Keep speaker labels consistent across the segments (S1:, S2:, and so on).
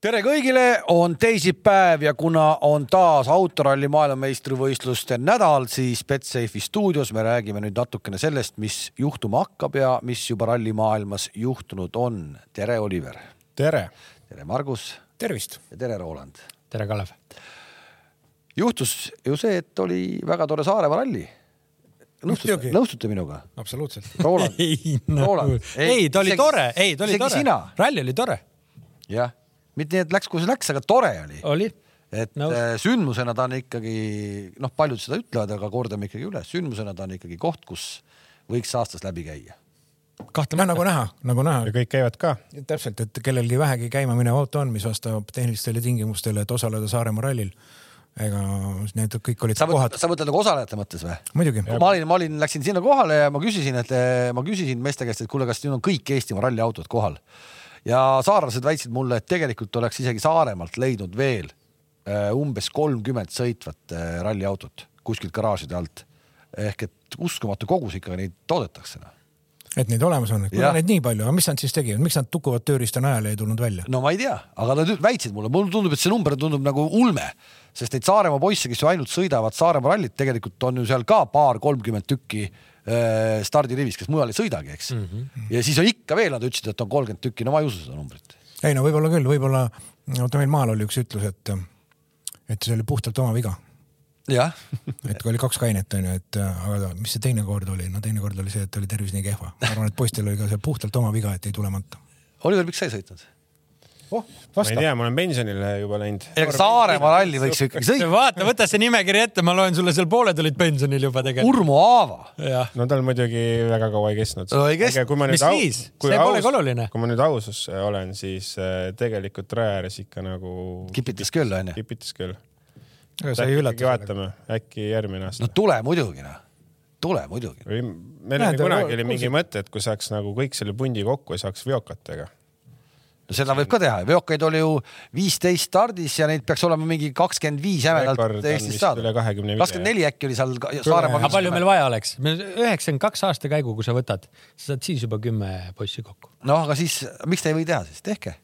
S1: tere kõigile , on teisipäev ja kuna on taas autoralli maailmameistrivõistluste nädal , siis Betsafe'i stuudios me räägime nüüd natukene sellest , mis juhtuma hakkab ja mis juba rallimaailmas juhtunud on . tere , Oliver .
S2: tere .
S1: tere , Margus
S2: tervist .
S1: ja tere , Roland .
S3: tere , Kalev .
S1: juhtus ju see , et oli väga tore Saaremaa ralli . nõustute ,
S2: Muidugi.
S1: nõustute minuga ?
S2: absoluutselt .
S1: Roland , Roland.
S3: ei , ta oli
S1: isegi-
S3: tore , ei , ta oli
S1: isegi
S3: tore
S1: sina ..
S3: ralli oli tore ,
S1: jah , mitte nii , et läks , kus läks , aga tore oli .
S3: oli .
S1: et no.
S3: Nõus.
S1: sündmusena ta on ikkagi noh , paljud seda ütlevad , aga kordame ikkagi üle , sündmusena ta on ikkagi koht , kus võiks aastas läbi käia .
S2: no
S3: kahtlemata .
S2: nagu näha , nagu näha .
S4: ja kõik käivad ka .
S2: täpselt , et kellelgi vähegi käimamineva auto on , mis vastab tehnilistele tingimustele , et osaleda Saaremaa rallil . ega need kõik olid
S1: sa
S2: kohad
S1: mõtled ,. sa mõtled nagu osalejate mõttes või ?
S2: muidugi .
S1: ma olin , ma olin , läksin sinna kohale ja ma küsisin , et eh, ma küsisin meeste käest , et kuule , kas nüüd on kõik Eestimaa ralliautod kohal ja saarlased väitsid mulle , et tegelikult oleks isegi Saaremaalt leidnud veel eh, umbes kolmkümmend sõitvat eh, ralliautot kuskilt garaažide alt ehk et uskumatu kogus ikka neid toodetakse . noh.
S2: et neid olemas on , et
S1: Jah.
S2: kuna neid nii palju , aga mis nad siis tegid , miks nad tukuvad tööriista najal ja ei tulnud välja ?
S1: no ma ei tea , aga nad nüüd väitsid mulle , mulle tundub , et see number tundub nagu ulme , sest neid Saaremaa poisse , kes ju ainult sõidavad Saaremaa rallit , tegelikult on ju seal ka paar-kolmkümmend tükki äh, stardirivis , kes mujal ei sõidagi , eks mm . -hmm. ja siis on ikka veel , nad ütlesid , et on kolmkümmend tükki , no ma ei usu seda numbrit .
S2: ei no võib-olla küll , võib-olla , oota meil maal oli üks ütlus , et , et see oli puhtalt oma viga .
S1: jah ,
S2: et kui oli kaks kainet onju , et äh, aga mis see teine kord oli , no teine kord oli see , et oli tervis nii kehva . ma arvan , et poistel oli ka see puhtalt oma viga , et ei tulemata .
S1: Oliver , miks sa ei sõitnud ?
S2: oh ,
S4: ma ei tea , ma olen pensionile juba läinud .
S1: ega Saaremaa ralli võiks ju ikkagi sõita .
S3: vaata , võta see nimekiri ette , ma loen sulle , seal pooled olid pensionil juba tegelikult .
S1: Urmo Aava ,
S3: jah ,
S4: no tal muidugi väga kaua ei kestnud .
S1: No ei kestnud.
S3: Mis siis? See polegi oluline.
S4: kui ma nüüd ausus olen , siis äh, tegelikult raja ääres ikka nagu
S1: kipitas küll , onju .
S4: kipitas küll .
S2: sa ei üllata .
S4: vaatame , äkki järgmine aasta
S1: no
S4: no.
S1: tule muidugi , noh . tule muidugi .
S4: või meil
S2: Näed,
S4: oli kunagi
S2: aga-
S4: oli mingi mõte , et kui saaks nagu kõik selle pundi kokku ja saaks veokatega .
S1: no seda võib ka teha , veokaid oli ju viisteist stardis ja neid peaks olema mingi kakskümmend viis
S4: Rekord
S1: jämedalt
S4: on
S1: Eestis
S4: vist
S1: saada .
S4: üle 25, jah.
S1: kakskümmend neli äkki oli seal ka- Saaremaal .
S3: aga palju meil vaja oleks ? meil üheksakümmend kaks aasta käigu , kui sa võtad , sa saad siis juba kümme poissi kokku .
S1: noh , aga siis miks te ei või teha siis , tehke .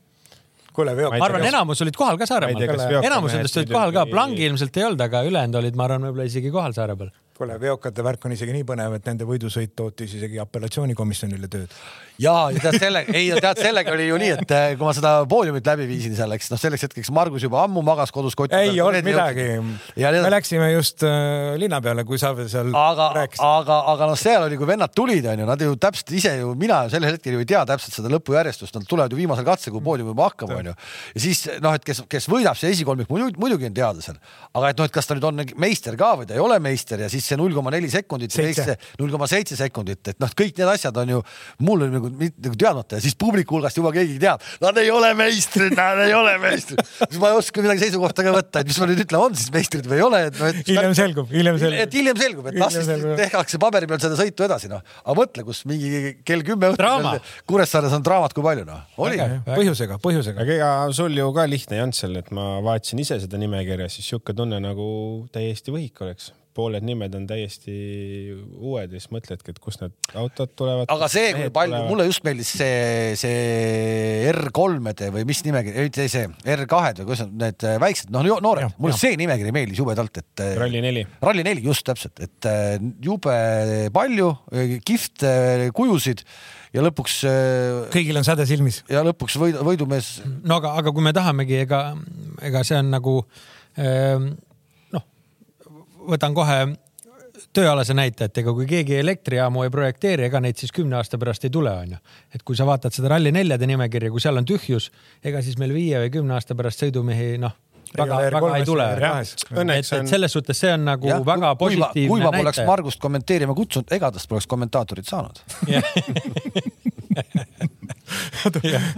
S2: kuule , Veo
S4: Ma ei
S3: ma
S4: tea,
S3: arvan ,
S4: kas-
S3: enamus olid kohal ka
S4: ma ei tea, kas
S3: Saaremaal .
S4: veokamehed
S3: enamus nendest olid
S4: muidugi-
S3: kohal ka , Plangi ilmselt ei olnud , aga ülejäänud olid , ma arvan , võib-olla isegi kohal Saare peal .
S2: kuule , veokate värk on isegi nii põnev , et nende võidusõit tootis isegi apellatsioonikomisjonile tööd .
S1: ja , ja tead selle , ei ja tead sellega oli ju nii , et eh, kui ma seda poodiumit läbi viisin seal , eks noh , selleks hetkeks Margus juba ammu magas kodus koti
S2: ei olnud midagi .
S1: ja nii
S2: me
S1: edasi .
S2: läksime just äh, linna peale , kui sa veel seal
S1: aga ,
S2: rääkisid .
S1: aga , aga noh , seal oli , kui vennad tulid , onju , nad ju täpselt ise ju , mina ju sel hetkel ju ei tea täpselt seda lõpujärjestust , nad tulevad ju viimasel katsel , kui poodium juba hakkab , onju . ja siis noh , et kes , kes võidab , see esikolmik muidu- muidugi on teada seal , aga et noh , et kas ta nüüd on meister ka või ta ei ole meister ja siis see null koma neli sekundit ja
S2: Seitse.
S1: teise null koma seitse sekundit , et noh , kõik need asjad on ju mul on nagu, mit- nagu teadmata ja siis publiku hulgast juba keegi teab , nad ei ole meistrid , nad ei ole meistrid . siis ma ei oska midagi seisukohta ka võtta , et mis ma nüüd ütlen , on siis meistrid või ei ole , et noh , et
S2: hiljem selgub , hiljem
S1: Hil- et
S2: selgub .
S1: hiljem selgub , et las
S2: Hiljem
S1: siis
S2: selgub.
S1: tehakse paberi peal seda sõitu edasi , noh . aga mõtle , kus mingi kell kümme
S3: Draama.
S1: õhtul Kuressaares on draamat , kui palju , noh . oli .
S2: põhjusega , põhjusega .
S4: aga ega sul ju ka lihtne ei olnud seal , et ma vaatasin ise seda nimekirja , siis sihuke tunne nagu täiesti võhik oleks . pooled nimed on täiesti uued ja siis mõtledki , et kust need autod tulevad .
S1: aga see , kui palju , mulle just meeldis see , see R3-de või mis nimekiri , mitte see R2-d või kus on need eh, väiksed , noh , noored , mulle see nimekiri meeldis jubedalt , et .
S4: Rally neli. .
S1: Rally neli , just täpselt , et eh, jube palju , kihvt eh, kujusid ja lõpuks ,
S2: kõigil on säde silmis .
S1: ja lõpuks võidu , võidumees
S3: no aga , aga kui me tahamegi , ega , ega see on nagu ehm, noh , võtan kohe tööalase näite , et ega kui keegi elektrijaamu ei projekteeri , ega neid siis kümne aasta pärast ei tule , onju . et kui sa vaatad seda Rally neljade nimekirja , kui seal on tühjus , ega siis meil viie või kümne aasta pärast sõidumehi noh , väga ,
S2: ole
S3: väga ei
S2: R3-st
S3: tule
S2: ega . R2-st.
S4: Õnneks
S3: et , et
S4: on-
S3: selles suhtes see on nagu ja,
S1: Jah,
S3: väga
S1: kui- kui ma- kui
S3: positiivne
S1: ma poleks
S3: näite .
S1: Margust kommenteerima kutsunud , ega tast poleks kommentaatorit saanud .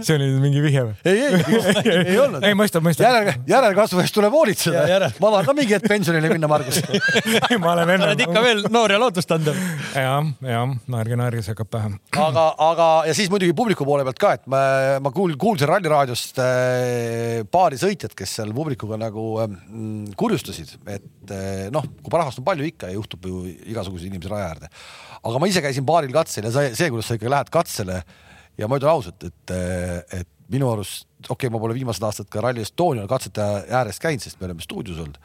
S2: see oli nüüd mingi vihje või ?
S1: ei , ei , ei olnud .
S2: ei , mõistab , mõistab .
S1: järel , järelkasvu eest tuleb hoolitseda
S3: Ja- järel- .
S1: ma tahan ka mingi hetk pensionile minna , Margus .
S2: ma olen
S3: sa
S2: enne .
S3: oled ikka veel noor ja lootustandev .
S2: jah , jah , naerge , naerge , see hakkab pähe .
S1: aga , aga ja siis muidugi publiku poole pealt ka , et ma , ma kuul- , kuulsin Ralliraadiost äh, paari sõitjat , kes seal publikuga nagu ähm, kurjustasid , et äh, noh , kui rahvast on palju ikka ja juhtub ju igasuguseid inimesi raja äärde . aga ma ise käisin paaril katsel ja see , see , kuidas sa ikka lähed katsele ja ma ütlen ausalt , et , et minu arust , okei okay, , ma pole viimased aastad ka Rally Estonial katsete ääres käinud , sest me oleme stuudios olnud ,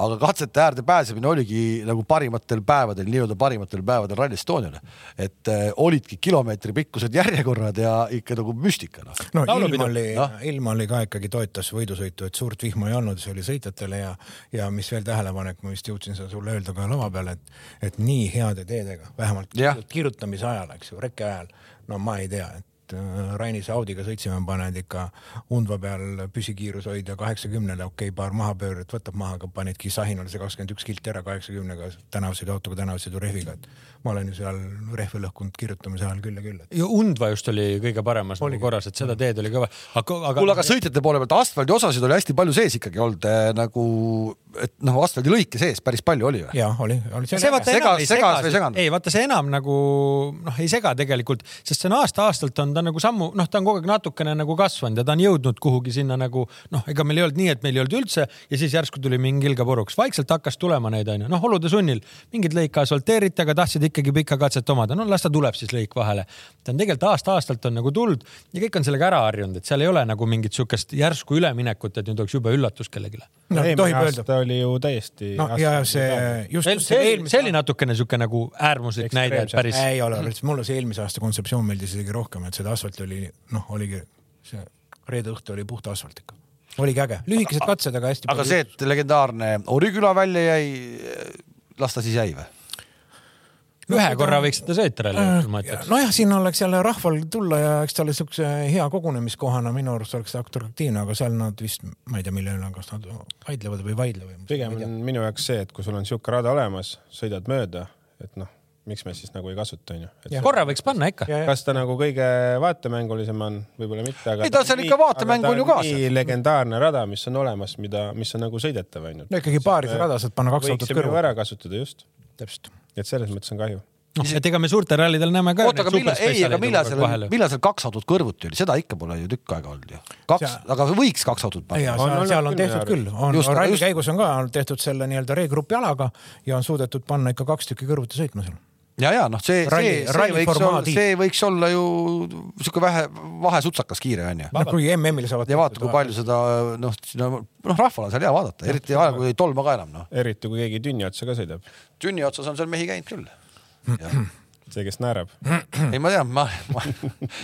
S1: aga katsete äärde pääsemine oligi nagu parimatel päevadel , nii-öelda parimatel päevadel Rally Estoniale . et eh, olidki kilomeetri pikkused järjekorrad ja ikka nagu müstika noh .
S2: no ilm
S1: Laulupidu,
S2: oli
S1: noh. ,
S2: ilm oli ka ikkagi toetas võidusõitu , et suurt vihma ei olnud , see oli sõitjatele ja , ja mis veel tähelepanek , ma vist jõudsin seda sulle öelda ka lava peal , et , et nii heade teedega , vähemalt
S1: Jah.
S2: kiirut- kirjutamise ajal , eks ju , reke ajal , no ma ei tea , et äh, Rainis Audiga sõitsime , paned ikka undva peal püsikiirus hoida kaheksakümnele , okei okay, , paar mahapööret võtab maha , aga panidki sahinal see kakskümmend üks kilti ära kaheksakümnega , tänavasõidu autoga , tänavasõidu rehviga , et ma olen ju seal rehve lõhkunud kirjutamise ajal küll ja küll , et
S3: ja Undva just oli kõige paremas nagu korras , et seda teed oli kõva . aga ,
S1: kuule , aga
S3: aga
S1: sõitjate poole pealt asfaldi osasid oli hästi palju sees ikkagi olnud eh, nagu , et noh , asfaldilõike sees päris palju oli või ?
S2: ja oli , oli
S3: see vaata
S1: Segas-
S3: enam ei sega
S1: segas või ei , seganud?
S3: ei vaata see enam nagu noh , ei sega tegelikult , sest see on aasta-aastalt on ta nagu sammu , noh , ta on kogu aeg natukene nagu kasvanud ja ta on jõudnud kuhugi sinna nagu noh , ega meil ei olnud nii , et meil ei olnud üldse ja siis järsku tuli mingi ilga puruks , vaikselt hakkas tulema neid onju , noh , olude sunnil mingeid lõike asfalteeriti , aga tahtsid ikkagi pikka katset omada , no las ta tuleb siis lõik vahele . ta on tegelikult aasta-aastalt on nagu tulnud ja kõik on sellega ära harjunud , et seal ei ole nagu mingit siukest järsku üleminekut , et nüüd oleks jube üllatus kellelegi
S2: no ei tohib öelda .
S4: ta oli ju täiesti .
S2: no ja see just
S3: see, see, eelmise... see oli natukene siuke nagu äärmuslik näide , et päris .
S2: ei ole , mulle see eelmise aasta kontseptsioon meeldis isegi rohkem , et seda asfalti oli noh , oligi see reede õhtu oli puhta asfalt ikka , oligi äge , lühikesed katsed , aga hästi
S1: aga see , et legendaarne Oriküla välja jäi , las ta siis jäi või ? Noh,
S3: ühe korra võiks seda sõita ralli
S1: Äh,
S3: jooksul , ma ütleks .
S2: nojah , sinna oleks jälle rahval tulla ja eks ta oli siukse hea kogunemiskohana minu arust oleks ta atraktiivne , aga seal nad vist , ma ei tea , mille üle , kas nad vaidlevad või ei vaidle või .
S4: pigem on minu jaoks see , et kui sul on sihuke rada olemas , sõidad mööda , et noh , miks me siis nagu ei kasuta , onju .
S3: korra võiks panna ikka .
S4: kas ta nagu kõige vaatemängulisem on , võib-olla mitte , aga .
S1: Ei, ta seal ikka vaatemäng on ju ka seal.
S4: nii legendaarne rada , mis on olemas , mida , mis on nagu sõidetav , onju .
S2: no ikkagi paaris
S3: äh,
S2: rada saad panna kaks autot
S4: võiksime ju
S2: kõrvale .
S4: ära kasutada , just .
S2: täpselt .
S4: et selles mõttes on kahju .
S3: noh , et ega me suurtel rallidel näeme ka .
S1: oota , aga millal , ei , aga millal seal , millal seal kaks autot kõrvuti oli , seda ikka pole ju tükk aega olnud ju . kaks
S2: See- ,
S1: aga võiks kaks autot
S2: ja
S1: panna .
S4: On
S2: seal, seal
S4: olnud
S2: on
S4: küll
S2: tehtud
S4: minu
S2: küll , on
S1: Just,
S2: just, ralli
S1: just.
S2: just. käigus on ka on tehtud selle nii-öelda reegrupi alaga ja on suudetud panna ikka kaks tükki kõrvuti sõitma seal .
S1: ja , ja noh , see , see
S2: Ralli- ,
S1: see
S2: ralli
S1: võiks olla ,
S2: formaadi.
S1: see võiks olla ju sihuke vähe , vahesutsakas kiire onju .
S2: noh , kui MM-il saavad .
S1: ja vaata , kui . palju seda noh , noh rahval on seal hea vaadata , eriti ajal , kui ei tolma ka enam noh .
S4: eriti kui keegi tünni otsa ka sõidab .
S1: tünni otsas on seal mehi käinud küll .
S4: see , kes naerab .
S1: ei , ma tean , ma , ma ,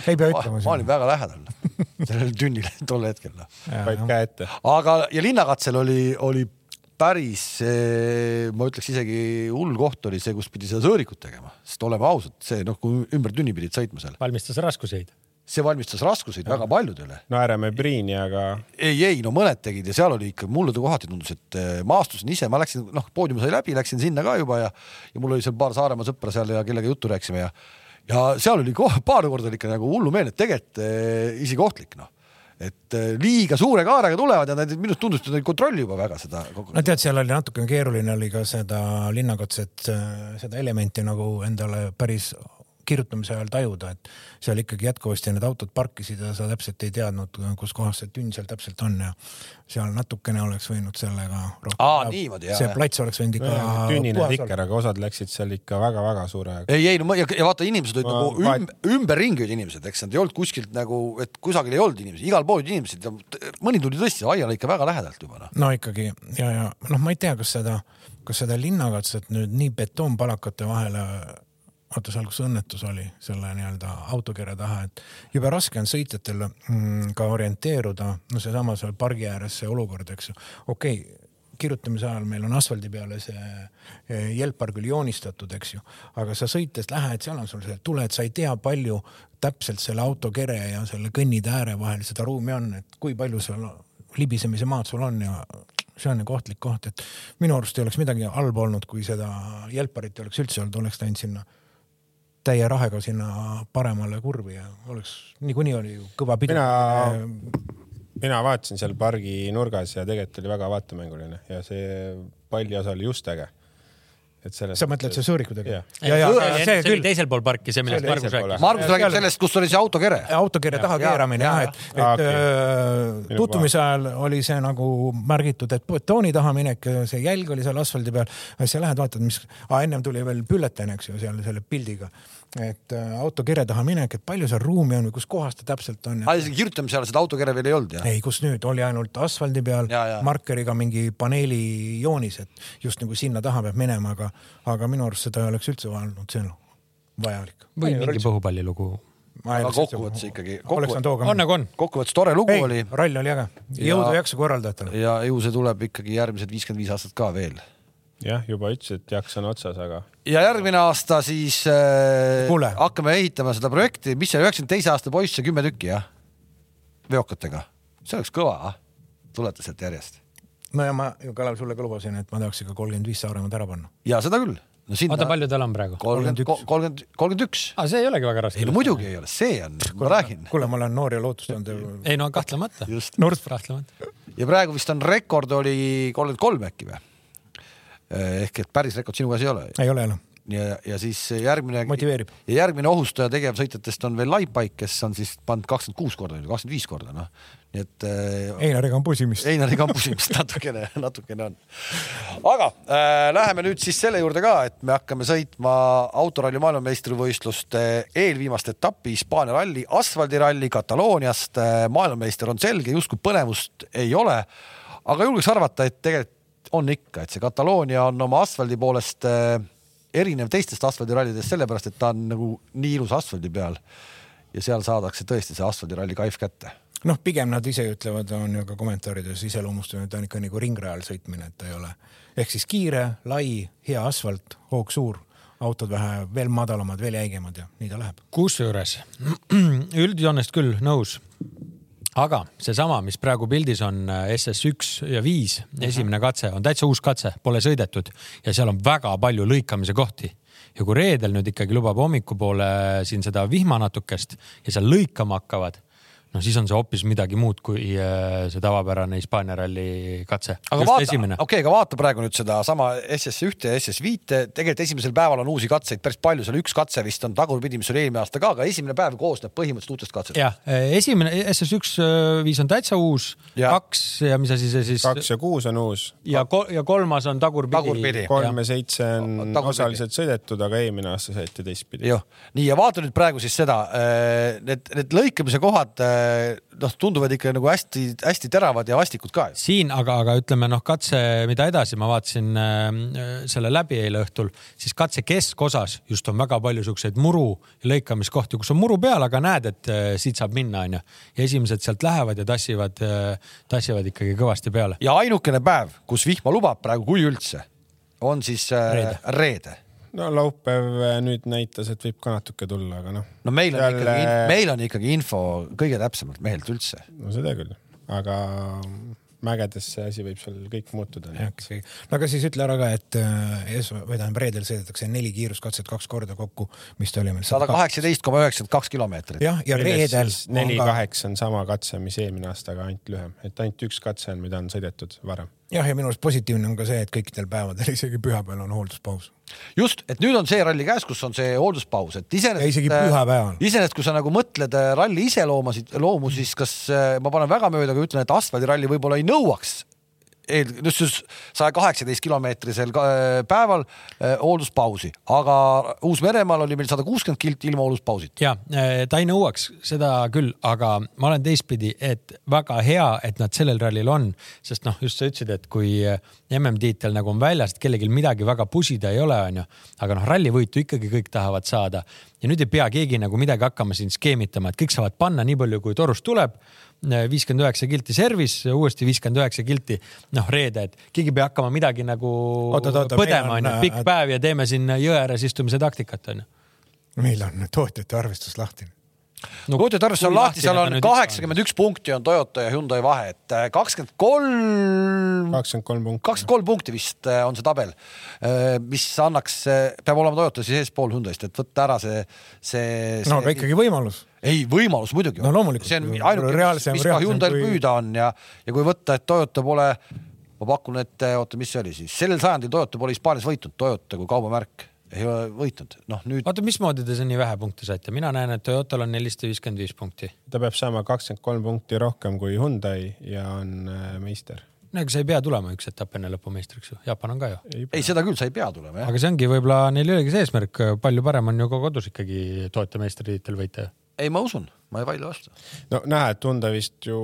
S2: ei pea
S1: ma,
S2: ütlema
S1: ma olin . väga lähedal sellele tünnile tol hetkel noh
S4: vaid käe ette .
S1: aga , ja linnakatsel oli , oli päris , ma ütleks isegi hull koht oli see , kus pidi seda sõõrikut tegema , sest oleme ausad , see noh , kui ümber tünni pidid sõitma seal ,
S3: valmistas raskuseid .
S1: see valmistas raskuseid väga paljudele .
S4: naerame Priini , aga
S1: ei , ei no mõned tegid ja seal oli ikka , mulle ta kohati tundus , et eh, ma astusin ise , ma läksin , noh , poodium sai läbi , läksin sinna ka juba ja , ja mul oli seal paar Saaremaa sõpra seal ja kellega juttu rääkisime ja , ja seal oli kohe paar korda oli ikka nagu hullumeelne , et tegelikult eh, isegi ohtlik noh , et eh, liiga suure kaarega tulevad ja nad minu arust tundus , et nad ei kontrolli juba väga seda .
S2: no tead , seal oli natukene keeruline oli ka seda linnakatset , seda elementi nagu endale päris kirjutamise ajal tajuda , et seal ikkagi jätkuvasti need autod parkisid ja sa täpselt ei teadnud , kus kohas see tünn seal täpselt on ja seal natukene oleks võinud sellega rohkem
S1: Aa, niimoodi, jaa,
S2: see
S1: jah. Äh,
S2: plats oleks võinud ikka
S4: tünnine
S2: puhas
S4: tikker , aga osad läksid seal ikka väga-väga suure .
S1: ei , ei no ma ja, ja vaata , inimesed olid
S4: Ma
S1: nagu
S4: vahet-
S1: üm, ümberringi olid inimesed , eks nad ei olnud kuskilt nagu , et kusagil ei olnud inimesi , igal pool olid inimesed ja t- mõni tuli tõesti aiale ikka väga lähedalt juba noh .
S2: no ikkagi ja , ja noh , ma ei tea , kas seda , kas seda linnakatset nüüd nii betoonpalakate vahele , oota seal , kus õnnetus oli selle nii-öelda autokere taha , et jube raske on sõitjatel mm, ka orienteeruda , no seesama seal pargi ääres see olukord , eks ju , okei okay, kirjutamise ajal meil on asfaldi peale see eh, jelpar küll joonistatud , eks ju , aga sa sõites lähed , seal on sul see tuled , sa ei tea , palju täpselt selle autokere ja selle kõnnitee ääre vahel seda ruumi on , et kui palju seal libisemise maad sul on ja see on nagu ohtlik koht , et minu arust ei oleks midagi halba olnud , kui seda jalparit ei oleks üldse olnud , oleks läinud sinna täie rahega sinna paremale kurvi ja oleks niikuinii oli ju kõva pidu . äh,
S4: Mina- mina vaatasin seal pargi nurgas ja tegelikult oli väga vaatemänguline ja see palli osa oli just äge . et selles .
S2: sa mõtled see sõõriku
S4: Jah.
S2: tegelikult ?
S3: see
S2: see
S3: oli
S2: küll ,
S3: teisel pool parki , see millest
S4: See oli
S3: Margus
S4: teisel
S3: rääkis .
S1: Margus räägib sellest , kus oli see autokere .
S2: autokirja taha keeramine jah , et , et
S4: Aa, okei.
S2: okay.
S4: Minu
S2: tutvumise ajal oli see nagu märgitud , et betooni taha minek , see jälg oli seal asfaldi peal . sa lähed vaatad , mis , ennem tuli veel bülletään , eks ju , seal selle pildiga , et äh, autokirja taha minek , et palju seal ruumi on või kus kohas ta täpselt on .
S1: isegi kirjutamise ajal seda autokere veel ei olnud jah ?
S2: ei , kus nüüd oli ainult asfaldi peal
S1: Ja, ja.
S2: markeriga mingi paneeli joonis , et just nagu sinna taha peab minema , aga , aga minu arust seda ei oleks üldse olnud seal vajalik .
S3: või mingi põhupallilugu .
S1: Aga kokkuvõttes ikkagi-
S2: oleks saanud hooga
S3: on
S2: minna .
S3: nagu on .
S1: kokkuvõttes tore lugu
S2: ei
S1: oli ,
S2: rall oli äge , jõudu ja jaksu korraldajatele .
S1: ja ju see tuleb ikkagi järgmised viiskümmend viis aastat ka veel .
S4: jah , juba ütles , et jaks on otsas , aga
S1: ja järgmine aasta siis äh,
S2: Kuule.
S1: hakkame ehitama seda projekti , mis see üheksakümne teise aasta poiss , see kümme tükki jah , veokatega , see oleks kõva ah? , tulete sealt järjest
S2: no ja ma , Kalev , sulle ka lubasin , et ma tahaks ikka kolmkümmend viis Saaremaad ära panna .
S1: ja seda küll . no sinna
S3: oota , palju tal on praegu ?
S1: kolmkümmend , kolmkümmend , kolmkümmend üks .
S3: aa , see ei olegi väga
S1: ei
S3: raske
S1: no . muidugi ei ole , see on , ma räägin .
S2: kuule , ma olen noor ja lootustandev .
S3: ei no kahtlemata .
S1: Just.
S3: kahtlemata .
S1: ja praegu vist on rekord oli kolmkümmend kolm äkki või ? ehk et päris rekord sinu käes ei ole
S2: ei ole enam .
S1: ja , ja siis järgmine .
S2: Motiveerib.
S1: ja järgmine ohustaja tegevsõitjatest on veel Laipaik , kes on siis pannud kakskümmend kuus korda , kakskümmend viis korda , noh . nii et äh,
S2: Einariga on pusimist .
S1: Einari kampusimist natukene , natukene on . aga äh, läheme nüüd siis selle juurde ka , et me hakkame sõitma autoralli maailmameistrivõistluste eelviimast etappi Hispaania ralli , asfaldiralli Katalooniast . maailmameister on selge , justkui põnevust ei ole . aga julgeks arvata , et tegelikult on ikka , et see Kataloonia on oma asfaldi poolest äh, erinev teistest asfaldirallidest sellepärast , et ta on nagu nii ilus asfaldi peal ja seal saadakse tõesti see asfaldiralli kaif kätte
S2: noh , pigem nad ise ütlevad , on ju ka kommentaarides iseloomustanud , ta on ikka nagu ringrajal sõitmine , et ta ei ole ehk siis kiire , lai , hea asfalt , hoog suur , autod vähe veel madalamad , veel jäigemad ja nii ta läheb .
S3: kusjuures üldjoonest küll nõus . aga seesama , mis praegu pildis on äh, SS1 ja viis ,
S1: Mhm.
S3: esimene katse on täitsa uus katse , pole sõidetud ja seal on väga palju lõikamise kohti ja kui reedel nüüd ikkagi lubab hommikupoole siin seda vihma natukest ja seal lõikama hakkavad , no siis on see hoopis midagi muud kui äh, see tavapärane Hispaania ralli katse .
S1: aga
S3: just
S1: vaata ,
S3: esimene
S1: okei . okay, , aga vaata praegu nüüd sedasama SS1 ja SS5-e , tegelikult esimesel päeval on uusi katseid päris palju , seal üks katse vist on tagurpidi , mis oli eelmine aasta ka , aga esimene päev koosneb põhimõtteliselt uutest katsetest .
S3: jah , esimene SS1 äh, viis on täitsa uus ,
S1: Ja.
S3: kaks ja mis asi see siis ?
S4: kaks ja kuus on uus ,
S3: ja kol- ja kolmas on tagurpidi .
S1: Tagurpidi.
S4: kolm ja seitse on
S1: Tagurpidi.
S4: osaliselt sõidetud , aga eelmine aasta sõideti teistpidi .
S1: jah , nii ja vaata nüüd praegu siis seda , need , need lõikamise kohad , noh , tunduvad ikka nagu hästi-hästi teravad ja vastikud ka .
S3: siin aga , aga ütleme noh , katse , mida edasi ma vaatasin äh, selle läbi eile õhtul , siis katse keskosas just on väga palju siukseid muru lõikamiskohti , kus on muru peal , aga näed , et äh, siit saab minna , onju . ja esimesed sealt lähevad ja tassivad , tassivad ikkagi kõvasti peale .
S1: ja ainukene päev , kus vihma lubab praegu , kui üldse , on siis äh,
S3: Reede.
S1: reede
S4: no laupäev eh, nüüd näitas , et võib ka natuke tulla , aga noh .
S1: no meil on Jälle...
S4: Jälle-
S1: ikkagi , meil on ikkagi info kõige täpsemalt mehelt üldse .
S4: no seda küll , aga mägedes see asi võib seal kõik muutuda .
S2: no aga siis ütle ära ka , et äh, es- või tähendab reedel sõidetakse neli kiiruskatset kaks korda kokku , mis ta oli meil .
S1: sada . kaheksateist koma üheksakümmend kaks kilomeetrit .
S2: jah , ja reedel .
S4: neli kaheksa on sama katse , mis eelmine aasta , aga ainult lühem , et ainult üks katse on , mida on sõidetud varem .
S2: jah , ja minu arust positiivne on ka see , et kõikidel päevadel , isegi pühapäeval on hoolduspaus .
S1: just , et nüüd on see ralli käes , kus on see hoolduspaus , et iseenesest .
S2: Ja isegi pühapäeval.
S1: iseenesest , kui sa nagu mõtled äh, ralli iseloomasid , loomu , siis kas äh, ma panen väga mööda , kui ütlen , et asfaldiralli võib-olla ei nõuaks eel- , just siis saja kaheksateist kilomeetrisel ka- päeval äh, hoolduspausi , aga Uus-Meremaal oli meil sada kuuskümmend kilti ilma hoolduspausit .
S3: ja äh, ta ei nõuaks seda küll , aga ma olen teistpidi , et väga hea , et nad sellel rallil on , sest noh , just sa ütlesid , et kui äh, MM-tiitel nagu on väljas , et kellelgi midagi väga pusida ei ole , onju . aga noh , rallivõitu ikkagi kõik tahavad saada ja nüüd ei pea keegi nagu midagi hakkama siin skeemitama , et kõik saavad panna nii palju , kui torust tuleb Äh, viiskümmend üheksa kilti service , uuesti viiskümmend üheksa kilti , noh reede , et keegi ei pea hakkama midagi nagu
S2: Oota, oota, oota, meil
S3: põdema ,
S2: on,
S3: onju ,
S2: äh,
S3: pikk päev ja teeme siin jõe ääres istumise taktikat , onju .
S2: meil on tootjate arvestus lahtine
S3: no
S1: kujutad arvesse , seal on lahti , seal on kaheksakümmend üks punkti on Toyota ja Hyundai vahe , et äh, kakskümmend kolm
S4: kakskümmend kolm punkti .
S1: kakskümmend kolm punkti vist äh, on see tabel , mis annaks , peab olema Toyota siis eespool Hyundai'st , et võtta ära see , see, see...
S2: no aga ikkagi võimalus .
S1: ei , võimalus muidugi
S2: No loomulikult.
S1: see on ainuke , mis
S2: Reaalsem-
S1: mis ka
S2: reaalsem
S1: Hyundai'l
S2: kui-
S1: püüda on ja , ja kui võtta , et Toyota pole ma pakun , et eh, oota , mis see oli siis , sellel sajandil Toyota pole Hispaanias võitnud , Toyota kui kaubamärk ei ole võitnud , noh nüüd
S3: oota , mismoodi te siin nii vähe punkte saite , mina näen , et Toyotal on nelisada viiskümmend viis punkti .
S4: ta peab saama kakskümmend kolm punkti rohkem kui Hyundai ja on äh, meister .
S3: no ega sa ei pea tulema üks etapp enne lõpumeistriks ju , Jaapan on ka ju .
S1: ei , seda küll , sa ei pea tulema jah ,
S3: aga see ongi võib-olla neil ei olegi see eesmärk , palju parem on ju ka kodus ikkagi Toyota meistritiitel võita .
S1: ei , ma usun , ma ei vaidle vastu .
S4: no näha , et Hyundai vist ju ,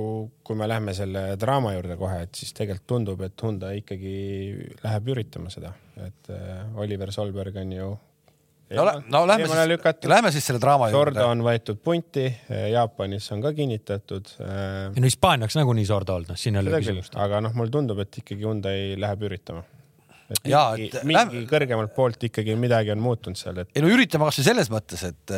S4: kui me lähme selle draama juurde kohe , et siis tegelikult tundub , et Hyundai ikkagi läheb üritama seda , et äh, Oliver Solberg on ju .
S1: no, lä- no lähme siis , lähme siis selle draama
S4: Sorda
S1: juurde .
S4: on võetud punti , Jaapanis on ka kinnitatud .
S3: ei no Hispaania oleks nagunii sorda olnud , noh , siin ei ole küsimust .
S4: aga noh , mulle tundub , et ikkagi Hyundai läheb üritama . et
S1: Jaa,
S4: mingi,
S1: et
S4: mingi
S1: lähme-
S4: kõrgemalt poolt ikkagi midagi on muutunud seal , et
S1: ei no üritame kasvõi selles mõttes , et ,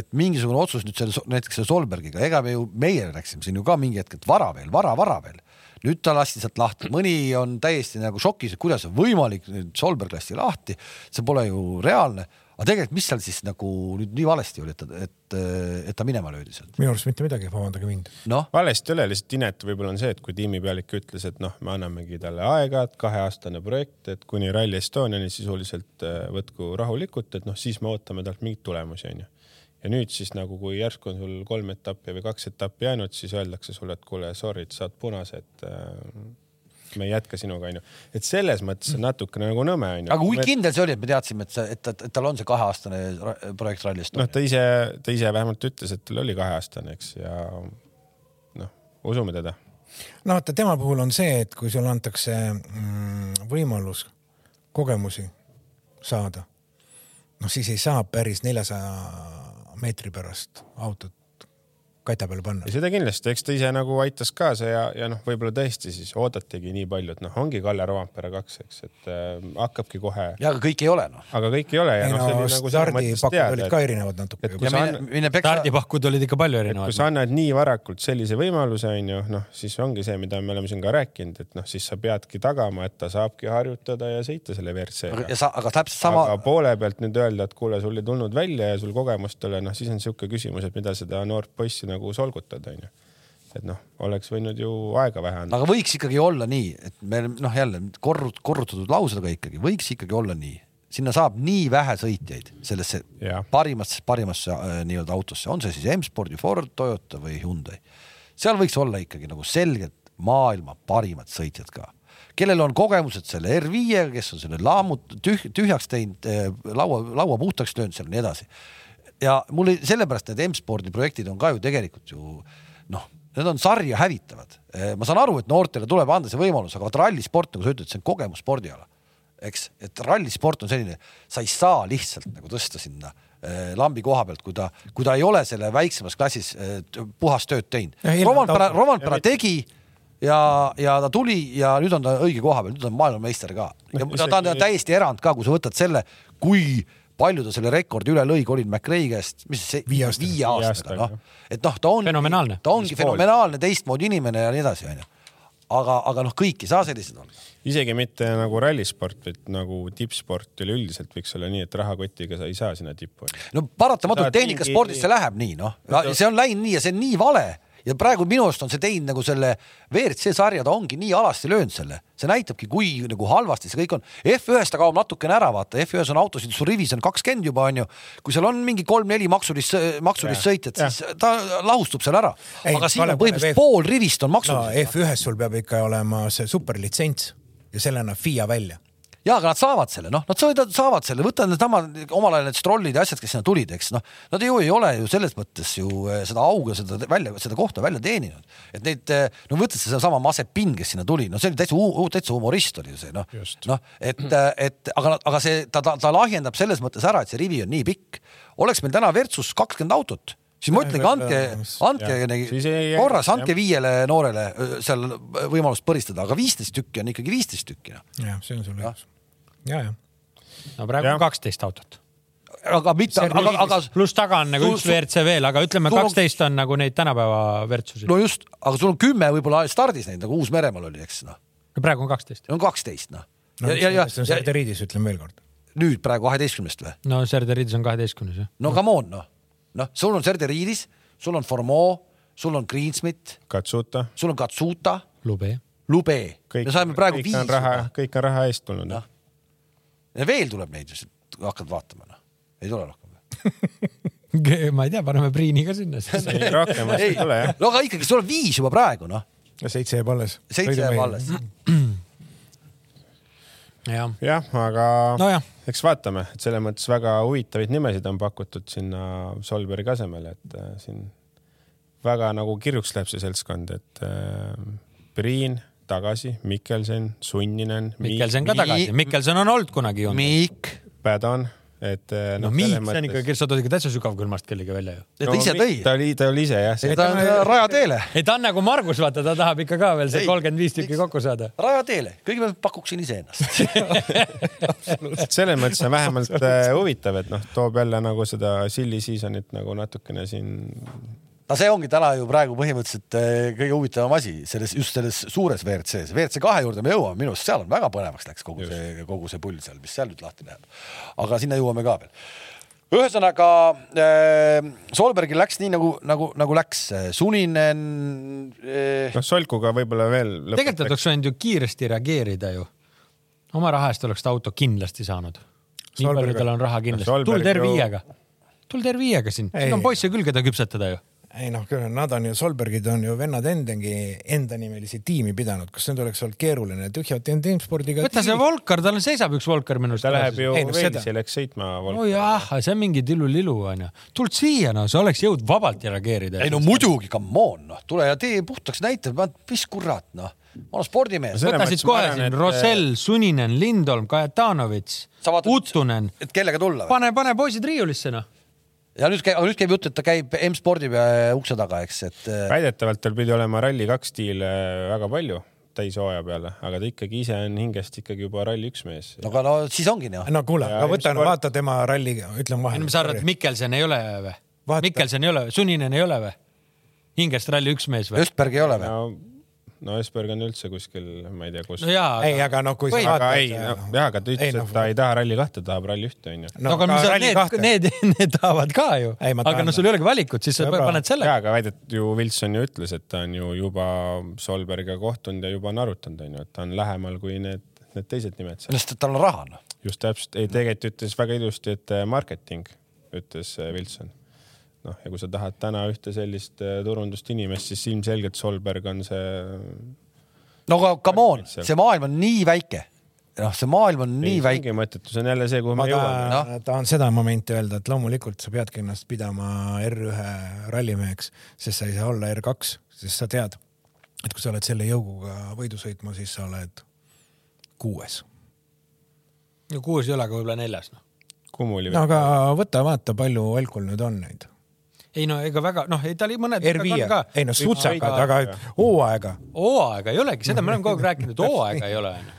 S1: et mingisugune otsus nüüd selle , näiteks selle Solbergiga , ega me ju , meie läksime siin ju ka mingi hetk , et vara veel , vara , vara veel . nüüd ta lasti sealt lahti , mõni on täiesti nagu šokis , et kuidas on võimalik , nüüd Solberg lasti lahti , see pole ju reaalne . aga tegelikult , mis seal siis nagu nüüd nii valesti oli , et , et , et ta minema löödi sealt ?
S2: minu arust mitte midagi , vabandage mind .
S1: noh ,
S4: valesti ei ole , lihtsalt inetu võib-olla on see , et kui tiimipealik ütles , et noh , me annamegi talle aega , et kaheaastane projekt , et kuni Rally Estoniani sisuliselt äh, võtku rahulikult , et noh , siis me ootame talt mingeid tulemusi , onju . ja nüüd siis nagu , kui järsku on sul kolm etappi või kaks etappi jäänud , siis öeldakse sulle , et kuule , sorry , et saad punase , et äh, me ei jätka sinuga , onju . et selles mõttes on natukene nagu nõme , onju .
S1: aga kui kindel see oli , et me teadsime , et see , et ta- et tal on see kaheaastane ra- projekt Rally
S4: noh ,
S1: Estonia ?
S4: ta ise , ta ise vähemalt ütles , et tal oli kaheaastane , eks , ja noh , usume teda
S2: no vaata , tema puhul on see , et kui sulle antakse mm, võimalus kogemusi saada , noh siis ei saa päris neljasaja meetri pärast autot kata peale
S4: ja
S2: panna .
S4: seda kindlasti , eks ta ise nagu aitas kaasa ja , ja noh , võib-olla tõesti siis oodatigi nii palju , et noh , ongi Kalle Rompera kaks , eks , et äh, hakkabki kohe ,
S1: ja aga kõik ei ole noh .
S4: aga kõik ei ole ja
S2: ei
S4: noh , see
S2: no
S4: oli nagu selles mõttes
S2: stardipakud olid
S4: teada ,
S2: ka erinevad natuke
S4: et
S1: ja
S2: juba .
S4: kui sa
S1: mine ,
S4: anna-
S1: mine peksa .
S3: stardipakud olid ikka palju
S4: et kui
S3: erinevad .
S4: sa annad nii varakult sellise võimaluse , onju , noh , siis ongi see , mida me oleme siin ka rääkinud , et noh , siis sa peadki tagama , et ta saabki harjutada ja sõita selle WRC-ga
S1: ja . sa , aga täpselt sama
S4: Sama... aga poole pealt nüüd öelda , et kuule , sul ei tulnud välja ja sul kogemust ei ole , noh , siis on sihuke küsimus , et mida seda noort poissi nagu solgutada , onju . et noh , oleks võinud ju aega vähe anda .
S1: aga võiks ikkagi olla nii , et me noh , jälle korrut- , korrutatud lausega ikkagi , võiks ikkagi olla nii , sinna saab nii vähe sõitjaid sellesse
S4: Jah.
S1: parimasse , parimasse äh, nii-öelda autosse , on see siis M-spordi , Ford , Toyota või Hyundai . seal võiks olla ikkagi nagu selgelt maailma parimad sõitjad ka , kellel on kogemused selle R5-ga , kes on selle laamut- , tüh- , tühjaks teinud äh, , laua , laua puhtaks löönud seal ja nii edasi . ja mul ei- sellepärast need M-spordi projektid on ka ju tegelikult ju noh , need on sarja hävitavad . ma saan aru , et noortele tuleb anda see võimalus , aga vaata rallisport , nagu sa ütled , see on kogemusspordiala , eks , et rallisport on selline , sa ei saa lihtsalt nagu tõsta sinna eh, lambi koha pealt , kui ta , kui ta ei ole selle väiksemas klassis eh, t- puhast tööd teinud
S2: Ja . eelnevalt
S1: Roman Pera ,
S2: auto-
S1: Roman Pera tegi ja , ja ta tuli ja nüüd on ta õige koha peal , nüüd on maailmameister ka . ja
S4: Noh,
S1: ta ta on
S4: isegi-
S1: täiesti erand ka , kui sa võtad selle , kui palju ta selle rekordi üle lõi Colin McRae käest , mis see
S2: Viie aastaga.
S1: viie aastaga ,
S4: aastaga.
S1: noh , et noh , ta on
S3: Fenomenaalne.
S1: ta ongi fenomenaalne teistmoodi inimene ja nii edasi , onju . aga , aga noh , kõik ei saa sellised olla .
S4: isegi mitte nagu rallisport , vaid nagu tippsport üleüldiselt võiks olla nii , et rahakotiga sa ei saa sinna tippu .
S1: no paratamatult
S4: Saad
S1: tehnikaspordis
S4: mingi-
S1: see läheb nii , noh , see on läinud nii ja see on nii vale ja praegu minu arust on see teinud nagu selle WRC sarja , ta ongi nii alasti löönud selle , see näitabki , kui nagu halvasti see kõik on . F1-s ta kaob natukene ära , vaata , F1-s on autosid , su rivis on kakskümmend juba onju , kui seal on mingi kolm-neli maksulist , maksulist sõitjat , siis ta lahustub seal ära .
S2: Ei,
S1: aga siin
S2: Kalev,
S1: on põhimõtteliselt
S2: Kalev,
S1: pool rivist on
S2: no
S1: maksulist .
S2: F1-s sul peab ikka olema see superlitsents ja selle annab FIA välja .
S1: ja aga nad saavad selle , noh , nad saavad, saavad selle , võta needsamad omal ajal need strollid ja asjad , kes sinna tulid , eks noh , nad ju ei ole ju selles mõttes ju eh, seda auga , seda te- välja , seda kohta välja teeninud . et neid , no võtad sedasama Masepin , kes sinna tuli , no see oli täitsa , täitsa humorist oli ju see noh , noh , et , et aga , aga see , ta, ta , ta lahjendab selles mõttes ära , et see rivi on nii pikk . oleks meil täna Virtsus kakskümmend autot , siis ma ütlengi , andke , andke
S4: Jah. Siis ei-
S1: neile korras , andke viiele noorele öö, seal võimalust põristada , aga viisteist tükki on ikkagi viisteist tükki noh
S2: jah , see on sul õigus . ja , ja .
S3: no praegu
S4: Jah.
S3: on kaksteist autot .
S1: aga mitte , aga , aga
S3: pluss taga on nagu
S1: Sul-
S3: üks
S1: sul-
S3: WRC veel , aga ütleme ,
S1: sul-
S3: kaksteist on nagu neid tänapäeva WRC-sid .
S1: no just , aga sul on kümme võib-olla stardis neid , nagu Uus-Meremaal oli , eks noh ,
S3: praegu on kaksteist .
S1: on kaksteist noh .
S2: no
S1: ja , ja , ja,
S2: see on
S1: ja
S2: Sarteriidis , ütlen veel kord .
S1: nüüd praegu kaheteistkümnest või ?
S3: no Serderiidis on kaheteistkümnes jah .
S1: no come on noh , noh , sul on Serderiidis , sul on Formeau , sul on Greensmit ,
S4: Katsuta ,
S1: sul on Katsuta ,
S3: lube jah .
S1: lube .
S4: kõik
S1: me saime praegu
S4: kõik
S1: viis
S4: on raha
S1: juba ., Noh.
S4: kõik on raha eest tulnud
S1: Jah. . ja veel tuleb neid , hakkad vaatama , noh . ei tule rohkem .
S3: ma ei tea , paneme Priini ka sinna siis .
S4: ei , rohkem vast ei tule jah .
S1: no aga ikkagi , sul on viis juba praegu , noh .
S2: seitse jääb alles .
S1: seitse jääb alles .
S3: jah ,
S4: jah , aga
S3: Nojah.
S4: eks vaatame , et selles mõttes väga huvitavaid nimesid on pakutud sinna Solbergi asemele , et äh, siin väga nagu kirjuks läheb see seltskond , et äh, Priin tagasi , Mikkelson , Sunninen ,
S3: Mikkelson ka tagasi , Mikkelson on olnud kunagi ju .
S1: Mikk ,
S4: Pädan , et äh,
S3: no
S4: noh,
S3: Miik ,
S4: selles
S3: see on ikka , sa tood ikka täitsa sügavkülmast kellegi välja ju .
S1: ta ise
S4: Mikk-
S1: tõi .
S4: ta oli , ta oli ise jah , see
S1: ta on äh, rajateele .
S3: ei , ta on nagu Margus , vaata , ta tahab ikka ka veel see
S1: Ei,
S3: kolmkümmend viis tükki
S1: miks?
S3: kokku saada .
S1: rajateele , kõigepealt pakuksin iseennast .
S4: et selles mõttes on vähemalt äh, huvitav , et noh , toob jälle nagu seda silly season'it nagu natukene siin
S1: no see ongi täna ju praegu põhimõtteliselt äh, kõige huvitavam asi selles , just selles suures WRC-s . WRC kahe juurde me jõuame , minu arust seal on väga põnevaks läks kogu see , kogu see pull seal , mis seal nüüd lahti läheb . aga sinna jõuame ka veel . ühesõnaga äh, Solbergil läks nii nagu , nagu , nagu läks . Suninen äh, ,
S4: noh , solkuga võib-olla veel .
S3: tegelikult ta oleks võinud ju kiiresti reageeida ju . oma raha eest oleks ta auto kindlasti saanud . nii palju
S2: Solberg-
S3: tal on raha kindlasti
S4: no . Solberg
S3: tuld
S4: ju-
S3: R5-ga , tuld R5-ga siin , siin
S2: Ei.
S3: on poisse küll , keda küpsetada ju .
S2: ei noh , nad on ju , Solbergid on ju vennad endagi endanimelisi tiimi pidanud , kas nüüd oleks olnud keeruline , tühjalt teen teamspordiga .
S3: võta see Volkar , tal seisab üks Volkar minu arust .
S4: ta läheb ju
S2: Ei, no seda-
S4: Walesi , läks sõitma .
S3: nojah , Oh see on mingi tillulilu onju . tuld siia no , sa oleks jõudnud vabalt reageerida .
S1: ei no muidugi , come on , noh , tule ja tee puhtaks , näita , mis kurat , noh . ma olen spordimees
S4: See- . selles
S3: võtasid
S4: mõttes ma
S3: kohe
S4: arvan,
S3: siin
S4: et-
S3: Rosell , Suninen , Lindholm , Kajatanovitš
S1: Sa vaatad- ,
S3: Uttunen ,
S1: et kellega tulla või ?
S3: pane , pane poisid riiulisse noh .
S1: ja nüüd käib , nüüd käib jutt , et ta käib M-spordi äh, ukse taga , eks , et äh,
S4: väidetavalt tal pidi olema Rally2 stiile eh, väga palju täishooaja peale , aga ta ikkagi ise on hingest ikkagi juba Rally1 mees .
S1: no aga no siis ongi noh ,
S2: no kuule ,
S4: Ja
S2: aga võta
S4: M-sport- ,
S2: vaata tema ralli , ütlen
S3: ei
S2: vahele .
S3: no mis sa arvad ,? Mikkelson ei ole või
S2: Vaata. ?
S3: Mikkelson ei ole , Suninen ei ole või ? hingest ralli üks mees või ?
S1: Östberg ei ole või ?
S4: no , no Esberg on üldse kuskil , ma ei tea , kus
S3: no . jaa ,
S2: ei , aga noh , kui sa
S3: Või-
S4: aga
S2: vaatad .
S4: ei , jah , aga ta ütles , et ta ei taha Rally2 , tahab Rally1 onju .
S3: no aga mis sa , need ,. need , need tahavad ka ju .
S2: Ei, ma
S3: aga
S2: tahan-
S3: no sul ei olegi valikut , siis sa
S2: Sõbra-
S3: paned selle
S4: ja , aga väidet ju Wilson ju ütles , et ta on ju juba Solbergiga kohtunud ja juba narutanud onju , et ta on lähemal kui need , need teised nimed seal .
S1: sest et tal on raha noh .
S4: just täpselt , ei tegelikult ütles väga ilusti , et äh, marketing , ütles äh, Wilson . noh , ja kui sa tahad täna ühte sellist äh, turundust inimest , siis ilmselgelt Solberg on see ,
S1: no aga come on , see maailm on nii väike , noh , see maailm on nii
S4: ei ,
S1: väike ,
S4: mingi mõttetus on jälle see , kuhu
S2: ma
S4: me jõuame .
S1: jõuan,
S2: tahan , tahan seda momenti öelda , et loomulikult sa peadki ennast pidama R1 rallimeheks , sest sa ei saa olla R2 , sest sa tead , et kui sa oled selle jõuguga võidu sõitma , siis sa oled kuues .
S3: no kuus ei ole , aga võib-olla neljas noh .
S4: Kumuli
S2: no
S4: no, .
S2: aga võta vaata , palju Olkul nüüd on neid .
S3: ei no ega väga , noh , ei ta oli mõned
S2: R5-ga , ei no sutsakad ,
S3: aga
S2: aga hooaega .
S3: hooaega ei olegi , seda me oleme kogu aeg rääkinud , hooaega ei ole onju .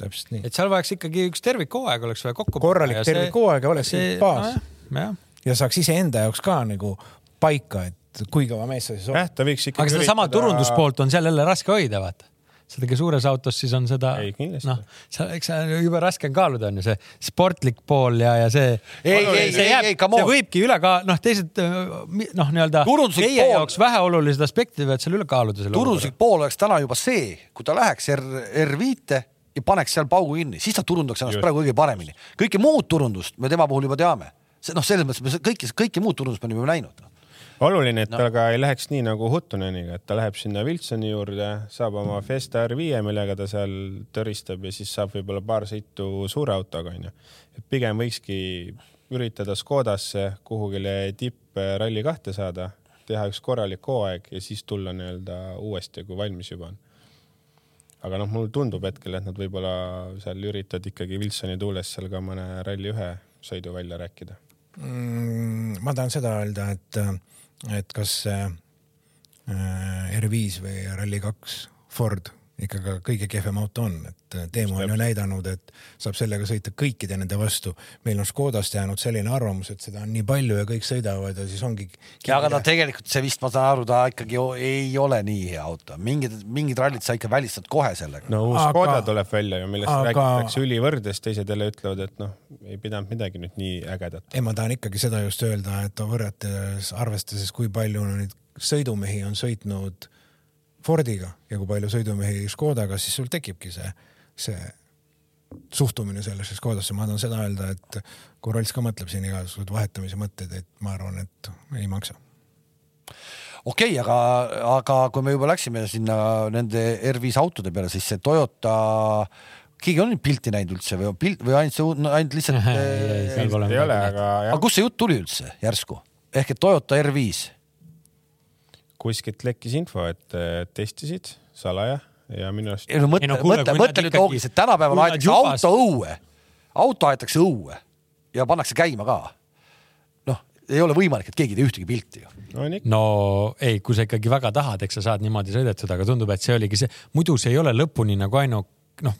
S2: täpselt nii .
S3: et seal vajaks ikkagi üks tervikhooaeg oleks vaja kokku .
S2: Korralik tervikhooaeg oleks üks baas. .
S3: jah ,
S2: ja saaks iseenda jaoks ka nagu paika , et kui kõva mees sa siis
S4: jah
S2: oled .,
S4: ta võiks ikkagi .
S3: aga sedasama turunduspoolt on seal jälle raske hoida , vaata . seda , kes suures autos siis on seda
S4: Ei, , kindlasti.
S3: noh , seal , eks seal jube raske on kaaluda , on ju see sportlik pool ja , ja see .
S1: Ei, ei, ei, ei, come on.
S3: see võibki üle ka , noh , teised mi- noh , nii-öelda
S1: Turunduslik
S3: meie
S1: pool.
S3: jaoks väheolulised aspektid võivad seal üle kaaluda selle .
S1: turunduslik pool oleks täna juba see , kui ta läheks R , R5-te ja paneks seal paugu kinni , siis ta turundaks ennast
S4: Just.
S1: praegu kõige paremini . kõike muud turundust me tema puhul juba teame . see noh , selles mõttes me se- kõike , kõike muud turundust me oleme juba näinud . noh.
S4: oluline , et no. ta ka ei läheks nii nagu Huttuneniga , et ta läheb sinna Wilsoni juurde , saab oma Fiesta R5 , E, millega ta seal tõristab ja siis saab võib-olla paar sõitu suure autoga onju . et pigem võikski üritada Škodasse kuhugile tippralli kahte saada , teha üks korralik hooaeg ja siis tulla nii-öelda uuesti , kui valmis juba on . aga noh , mulle tundub hetkel , et nad võib-olla seal üritavad ikkagi Wilsoni tuules seal ka mõne ralli ühe sõidu välja rääkida .
S2: Mm, ma tahan seda öelda , et , et kas see äh, R5 või Rally2 Ford ikka ka kõige kehvem auto on , et Teemu on ju näidanud , et saab sellega sõita kõikide nende vastu . meil on Škodast jäänud selline arvamus , et seda on nii palju ja kõik sõidavad ja siis ongi .
S1: ja aga ta tegelikult see vist , ma saan aru , ta ikkagi o- ei ole nii hea auto , mingid , mingid rallid sa ikka välistad kohe sellega .
S4: no uus
S2: Aga-
S4: aga, Škoda tuleb välja ju , millest
S2: aga-
S4: aga... räägitakse ülivõrdes , teised jälle ütlevad , et noh , ei pidanud midagi nüüd nii ägedat .
S2: ei , ma tahan ikkagi seda just öelda , et võrrates , arvestades , kui palju neid sõidumehi on sõitnud Fordiga ja kui palju sõidumehi Škodaga , siis sul tekibki see , see suhtumine sellesse Škodasse , ma tahan seda öelda , et kui Rolls ka mõtleb siin igasuguseid vahetamise mõtteid , et ma arvan , et ei maksa .
S1: okei okay, , aga , aga kui me juba läksime sinna nende R5 autode peale , siis see Toyota , keegi on neid pilti näinud üldse või on pilt või ainult see , ainult lihtsalt .
S3: seal pole
S4: ei ole ,
S3: midagi .
S4: aga
S1: aga
S4: jah ,
S1: kust see jutt tuli üldse järsku ? ehk et Toyota R5
S4: kuskilt lekkis info , et äh, testisid salaja ja minu arust
S1: ei no mõtle
S3: Ei no
S1: no, ,
S3: kuule,
S1: mõtle ,
S3: kui nad
S1: mõtle nüüd
S3: ikkagi-
S1: loogiliselt , tänapäeval
S3: kui nad
S1: aetakse
S3: jubast-
S1: auto õue , auto aetakse õue ja pannakse käima ka . noh , ei ole võimalik , et keegi ei tee ühtegi pilti ju .
S4: on ikka .
S3: no ei , kui sa ikkagi väga tahad , eks sa saad niimoodi sõidetud , aga tundub , et see oligi see , muidu see ei ole lõpuni nagu ainu , noh ,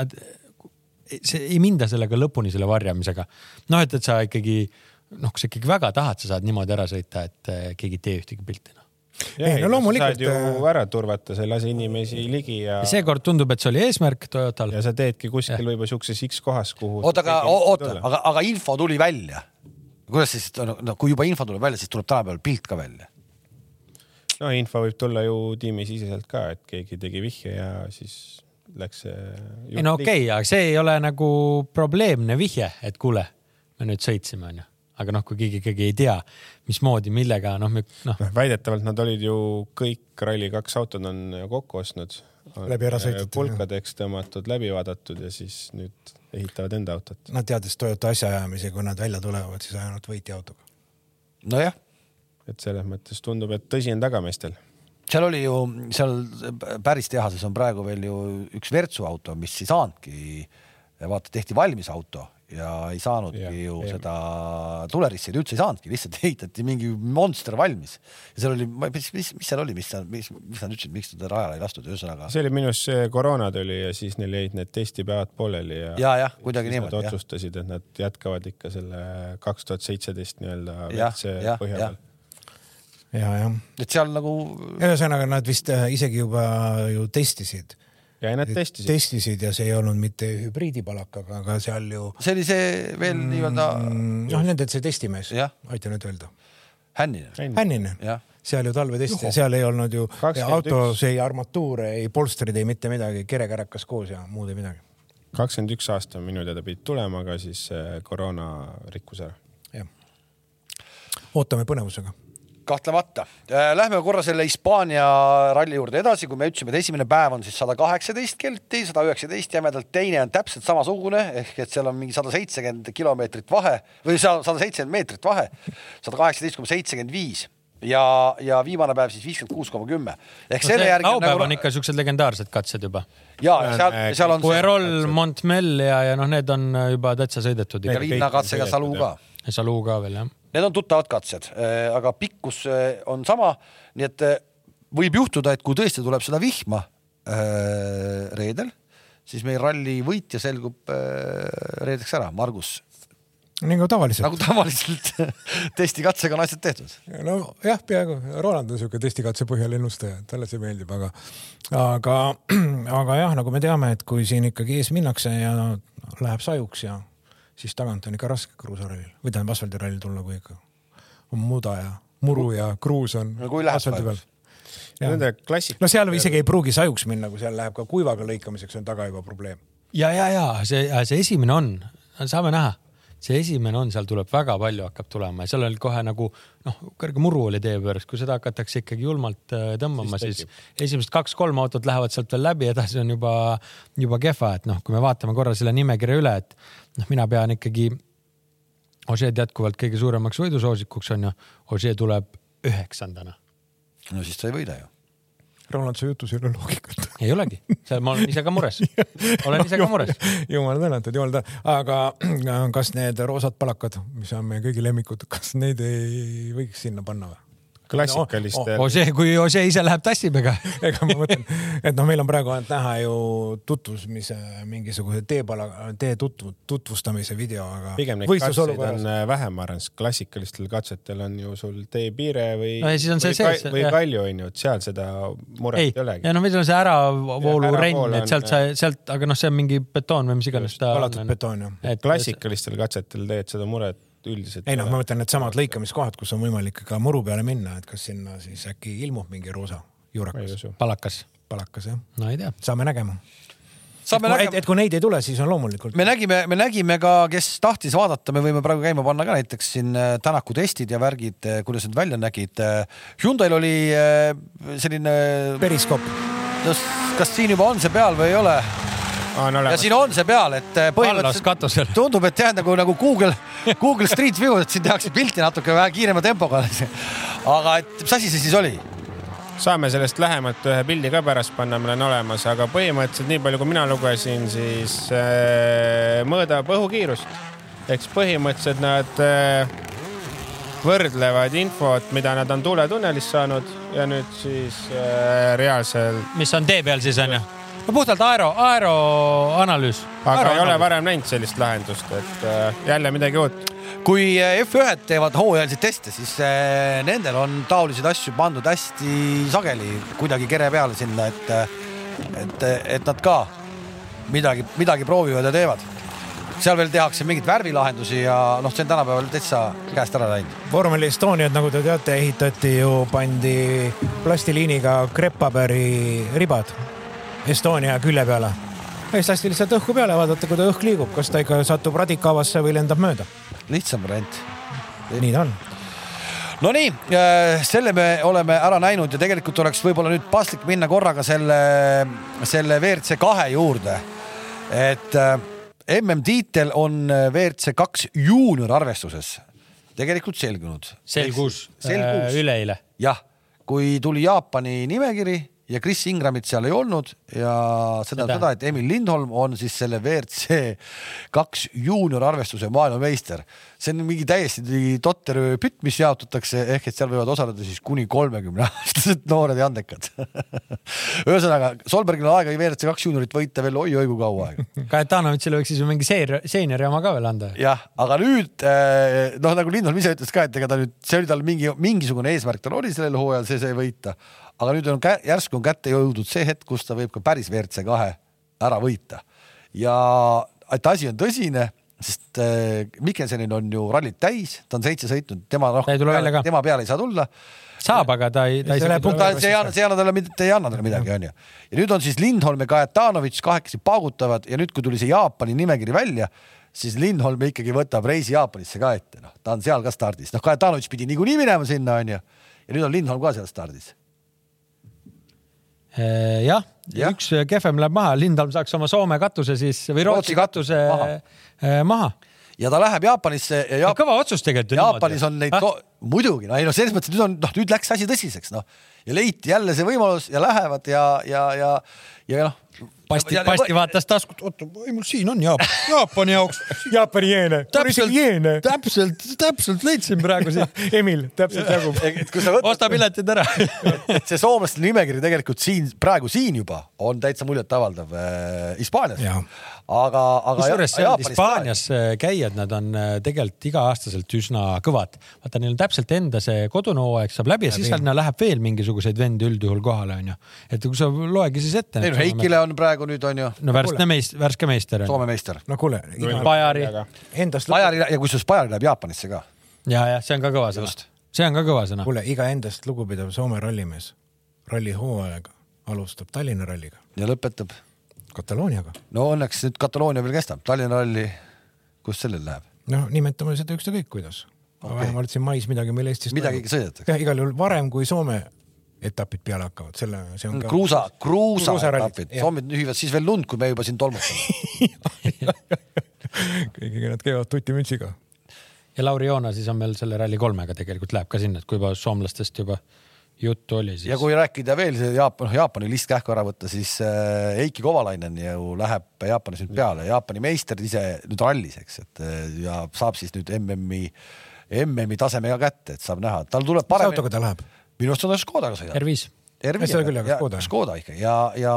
S3: nad , see ei minda sellega lõpuni , selle varjamisega . noh , et , et sa ikkagi , noh , kui sa ikkagi väga tahad , sa saad niimoodi ära sõita , et eh, keegi ei tee ühtegi pilti noh.
S2: Ei, no loomulikult,
S4: saad ju ära turvata , sa ei lase inimesi ligi ja ,
S3: ja seekord tundub , et see oli eesmärk Toyotal
S4: ja sa teedki kuskil võib-olla siukses X kohas , kuhu .
S1: oota , aga o- oota , aga , aga info tuli välja . kuidas siis , no kui juba info tuleb välja , siis tuleb tänapäeval pilt ka välja .
S4: no info võib tulla ju tiimisiseselt ka , et keegi tegi vihje ja siis läks see .
S3: ei no okei okay, , aga see ei ole nagu probleemne vihje , et kuule , me nüüd sõitsime , onju . aga noh , kui keegi ikkagi ei tea , mismoodi , millega , noh , me noh ,
S4: noh , väidetavalt nad olid ju kõik Rally2 autod on kokku ostnud .
S2: Läbi ära sõidetud,
S4: pulkadeks tõmmatud , läbi vaadatud ja siis nüüd ehitavad enda autot .
S2: Nad teadis Toyota asjaajamisi , kui nad välja tulevad , siis ainult võiti autoga .
S1: nojah ,
S4: et selles mõttes tundub , et tõsi on tagameestel .
S1: seal oli ju , seal päris tehases on praegu veel ju üks Virtsu auto , mis ei saanudki , vaata tehti valmis auto ja ei saanudki
S4: Jah,
S1: ja, ju
S4: jah.
S1: ja. seda tulerissi üldse ei saanudki , lihtsalt ehitati mingi monster valmis . ja seal oli , mis , mis , mis seal oli , mis seal , mis , mis nad ütlesid , miks teda rajale ei lastud , ühesõnaga .
S4: see oli minu arust see koroona tuli ja siis neil jäid need testipäevad pooleli ja .
S1: ja jah , kuidagi
S4: siis nad
S1: niimoodi jah .
S4: otsustasid , et nad jätkavad ikka selle kaks tuhat seitseteist nii-öelda
S1: Jah,
S4: WC
S1: jah,
S4: põhjal .
S2: ja , jah .
S1: et seal nagu
S2: ühesõnaga nad vist äh, isegi juba ju testisid .
S4: ja nad testisid Test... .
S2: testisid ja see ei olnud mitte hübriidipalakaga , aga seal ju ,
S1: see oli see veel mm. nii-öelda
S2: noh , nende see testimees ,
S1: Jah.
S2: aita nüüd öelda ,
S1: hännine .
S2: Hänninen
S1: Jah. ,
S2: seal ju talvetesti , seal ei olnud ju
S4: 21.
S2: autos ei armatuure , ei polstrid , ei mitte midagi , kerekärakas koos ja muud ei midagi .
S4: kakskümmend üks aasta minu teada pidid tulema , aga siis eh, koroona rikkus ära .
S2: jah . ootame põnevusega .
S1: kahtlemata . Lähme korra selle Hispaania ralli juurde edasi , kui me ütlesime , et esimene päev on siis sada kaheksateist kelti , sada üheksateist jämedalt , teine on täpselt samasugune ehk et seal on mingi sada seitsekümmend kilomeetrit vahe või sada seitsekümmend meetrit vahe , sada kaheksateist koma seitsekümmend viis ja , ja viimane päev siis viiskümmend kuus koma kümme ehk
S3: no
S1: selle
S3: see
S1: järgi nagu
S3: laupäev on ikka siuksed legendaarsed katsed juba .
S1: ja ja seal , seal on see
S3: Puerol , Montmel ja , ja noh , need on juba täitsa sõidetud
S1: ja
S3: ikka .
S1: Linna katse ja Salu ka
S3: Saluu ka veel jah .
S1: Need on tuttavad katsed , aga pikkus eh, on sama , nii et eh, võib juhtuda , et kui tõesti tuleb seda vihma eh, reedel , siis meil ralli võitja selgub eh, reedeks ära , Margus .
S2: nagu tavaliselt .
S1: nagu tavaliselt testikatsega on asjad tehtud .
S2: nojah , peaaegu Roland on siuke testikatse põhjal ennustaja , talle see meeldib , aga , aga , aga jah , nagu me teame , et kui siin ikkagi ees minnakse ja läheb sajuks ja siis tagant on ikka raske kruusarallil või tähendab asfaldirallil tulla , kui ikka on muda ja muru ja kruus on
S1: No kui läheb
S2: asfaldi peal
S1: sajuks. .
S4: Nende klassik-
S2: no seal isegi ei pruugi sajuks minna , kui seal läheb ka kuivaga lõikamiseks on taga juba probleem .
S3: ja , ja , ja see , see esimene on , saame näha , see esimene on , seal tuleb väga palju hakkab tulema ja seal oli kohe nagu noh , kõrge muru oli tee juures , kui seda hakatakse ikkagi julmalt äh, tõmbama , siis, siis esimesed kaks-kolm autot lähevad sealt veel läbi , edasi on juba , juba kehva , et noh , kui me vaatame korra selle nimekirja üle , et noh , mina pean ikkagi Ožeed jätkuvalt kõige suuremaks võidusoosikuks on ju , Ožee tuleb üheksandana .
S1: no siis sa ei võida ju .
S2: Roland , su jutus ei ole loogikat
S3: ei olegi , seal ma olen ise ka mures , olen ise ka mures .
S2: jumal tänatud , jumal tänatud , aga äh, kas need roosad palakad , mis on meie kõigi lemmikud , kas neid ei võiks sinna panna või ? oh,
S4: klassikalistel no, ,
S3: Ožee , kui Ožee ise läheb tassipega
S2: ega ma mõtlen , et noh , meil on praegu ainult näha ju tutvumise mingisuguse teepala , tee tutvu- , tutvustamise video , aga
S4: pigem neid katseid
S2: võistlusolukorras
S4: on eh, vähem , ma arvan , sest klassikalistel katsetel on ju sul teepiire või
S3: No ja siis on see
S4: või, ka-
S3: sees,
S4: või
S3: jah.
S4: kalju onju , et seal seda muret ei,
S3: ei
S4: ei olegi
S3: ja . noh , meil on see
S4: Ja,
S3: äravoolurenn
S4: äravool ,
S3: et sealt
S4: on-
S3: sa sealt , aga noh , see on mingi betoon või mis iganes
S4: äh,
S3: ta
S2: valatud betoon ju .
S3: et
S4: klassikalistel katsetel teed seda muret üldiselt
S2: ei noh , ma mõtlen needsamad lõikamiskohad , kus on võimalik ka muru peale minna , et kas sinna siis äkki ilmub mingi roosa
S4: ma ei
S2: juurakas ,
S4: usu .
S3: palakas ,
S2: palakas jah ,
S3: no ei tea .
S2: saame nägema .
S1: saame
S2: et,
S1: näha
S2: et , kui neid ei tule , siis on loomulikult
S1: me nägime , me nägime ka , kes tahtis vaadata , me võime praegu käima panna ka näiteks siin äh, Tänaku testid ja värgid , kuidas need välja nägid . Hyundai'l oli äh, selline ,
S2: periskoop .
S1: kas siin juba on see peal või ei ole ?
S4: on
S1: ja
S4: olemas .
S1: siin on see peal , et äh,
S3: Pallas
S1: põhimõtteliselt
S3: katusel .
S1: tundub , et jah , nagu , nagu Google , Google Street View , et siin tehakse pilti natuke vähe kiirema tempoga . aga et mis asi see siis oli ?
S4: saame sellest lähemalt ühe pildi ka pärast panna , meil on olemas , aga põhimõtteliselt nii palju , kui mina lugesin , siis äh, mõõdab õhukiirust . eks põhimõtteliselt nad äh, võrdlevad infot , mida nad on tuuletunnelist saanud ja nüüd siis äh, reaalselt ,
S3: mis on tee peal siis onju ? no puhtalt aero , aero analüüs .
S4: aga ei ole varem näinud sellist lahendust , et äh, jälle midagi uut .
S1: kui äh, F1-d teevad hooajalisi teste , siis äh, nendel on taoliseid asju pandud hästi sageli kuidagi kere peale sinna , et , et , et nad ka midagi , midagi proovivad ja teevad . seal veel tehakse mingeid värvilahendusi ja noh , see on tänapäeval täitsa käest ära läinud .
S2: vormel Estoniat , nagu te teate , ehitati ju , pandi plastiliiniga kreppapaberi ribad Estonia külje peale . siis lasti lihtsalt õhku peale , vaadata , kui ta õhk liigub , kas ta ikka satub radikaavasse või lendab mööda .
S1: lihtsam variant .
S2: nii ta on .
S1: Nonii , äh, selle me oleme ära näinud ja tegelikult oleks võib-olla nüüd paslik minna korraga selle , selle WRC kahe juurde . et äh, MM-tiitel on äh, WRC kaks juunior arvestuses tegelikult selgunud .
S3: selgus,
S1: selgus.
S3: äh, üleeile .
S1: jah , kui tuli Jaapani nimekiri ja Chris Ingramit seal ei olnud ja seda ,
S3: Seda.
S1: seda , et Emil Lindholm on siis selle WRC kaks juunior arvestuse maailmameister . see on mingi täiesti totter pütt , mis jaotatakse , ehk et seal võivad osaleda siis kuni kolmekümne aastased noored ja andekad . ühesõnaga , Solbergil on aega WRC kaks juuniorit võita veel oi-oi kui kaua aega .
S3: Kajetanovitšile võiks siis ju mingi seer- , seeniori oma ka veel anda .
S1: jah , aga nüüd eh, noh , nagu Lindholm ise ütles ka , et ega ta nüüd , see oli tal mingi mingisugune eesmärk , tal oli sellel hooajal see , see võita , aga nüüd on kä- järsku on kätte jõudnud see hetk , kus ta võib ka päris WRC kahe ära võita ja et asi on tõsine , sest eh, Mikkelsenil on ju rallid täis , ta on seitse sõitnud , tema
S3: Ta ei tule välja
S1: rohkem
S3: ka. ,
S1: tema peale ei saa tulla
S3: saab , aga ta ei , ta ei
S2: See läheb
S3: saa .
S1: ta , see ei anna , see ei anna talle midagi , ta ei anna talle midagi , onju . ja nüüd on siis Lindholm ja Kajatanovitš kahekesi paugutavad ja nüüd , kui tuli see Jaapani nimekiri välja , siis Lindholm ikkagi võtab reisi Jaapanisse ka ette , noh , ta on seal ka stardis , noh , Kajatanovitš pidi niikuinii minema sinna , onju . ja nüüd on Lindholm ka seal stardis .
S3: Äh, jah ja. ,
S1: Jah.
S3: üks kehvem läheb maha , Lindholm saaks oma Soome katuse siis või Rootsi
S1: Rootsi katus-
S3: katuse maha,
S1: maha.
S3: maha. .
S1: ja ta läheb Jaapanisse ja Jaap...
S3: kõva otsus tegelikult ju .
S1: Jaapanis on neid ah? , muidugi , no ei no selles mõttes , et nüüd on , noh , nüüd läks asi tõsiseks , noh ja leiti jälle see võimalus ja lähevad ja , ja , ja , ja noh .
S3: pasti , pasti vaatas taskut , oota , ei mul siin on Jaapan , Jaapani jaoks .
S2: Jaapani jeene .
S3: täpselt , täpselt , täpselt leidsin praegu siit .
S2: Emil , täpselt nagu- jagub .
S1: et kui sa võtad
S3: osta piletid ära .
S1: et see soomlaste nimekiri tegelikult siin praegu siin juba on täitsa muljetavaldav äh, Hispaanias
S2: Jaa. .
S1: aga , aga
S3: kusjuures
S1: ja-
S3: seal
S1: Jaapanis
S3: Hispaanias käijad , nad on äh, tegelikult iga-aastaselt üsna kõvad . vaata , neil on täpselt enda see kodune hooaeg saab läbi ja siis seal läheb veel mingisuguseid vendi üldjuhul kohale , onju . et kui sa loegi siis ette
S1: ka. . ei no Heikile on praegu nüüd on ju
S3: no värske meist- , värske meister on .
S1: Soome meister .
S2: no kuule ,
S3: Pajari
S2: endast lugu ,
S1: Pajari ja kusjuures Pajari läheb Jaapanisse ka .
S3: ja , ja see on ka kõva sõna . see on ka kõva sõna .
S2: kuule , iga endast lugupidav Soome rallimees rallihooajaga alustab Tallinna ralliga ,
S1: ja lõpetab .
S2: Katalooniaga .
S1: no õnneks nüüd Kataloonia veel kestab , Tallinna ralli , kus sellel läheb ?
S2: noh , nimetame seda ükskõik kuidas okay. .
S1: Okei.
S2: vähemalt siin mais midagi meil Eestis
S1: midagi . ikka sõidetakse .
S2: jah , igal juhul varem kui Soome etapid peale hakkavad , selle , see on ka .
S1: kruusa , kruusa
S2: Kruusarallid,
S1: etapid ,
S2: jah.
S1: Soomed nühivad siis veel lund , kui me juba siin tolmutame .
S2: kõigiga nad käivad tutimütsiga .
S3: ja Lauri Joona siis on meil selle Rally kolmega tegelikult läheb ka sinna , et kui juba soomlastest juba juttu oli ,
S1: ja
S3: siis kui...
S1: kui rääkida veel see Jaapan , Jaapani list kähku ära võtta , siis äh, Heiki Kovalainen ju läheb Jaapanis nüüd peale , Jaapani meister ise nüüd rallis , eks , et äh, ja saab siis nüüd MM-i , MM-i taseme ka kätte , et saab näha , tal tuleb
S2: mis
S1: paremini
S2: autoga . ta läheb ?
S1: minu arust on ta Škodaga sõidab .
S3: R5
S1: Ervi
S2: seda küll, aga Škoda.
S1: Škoda ikka ja , ja ,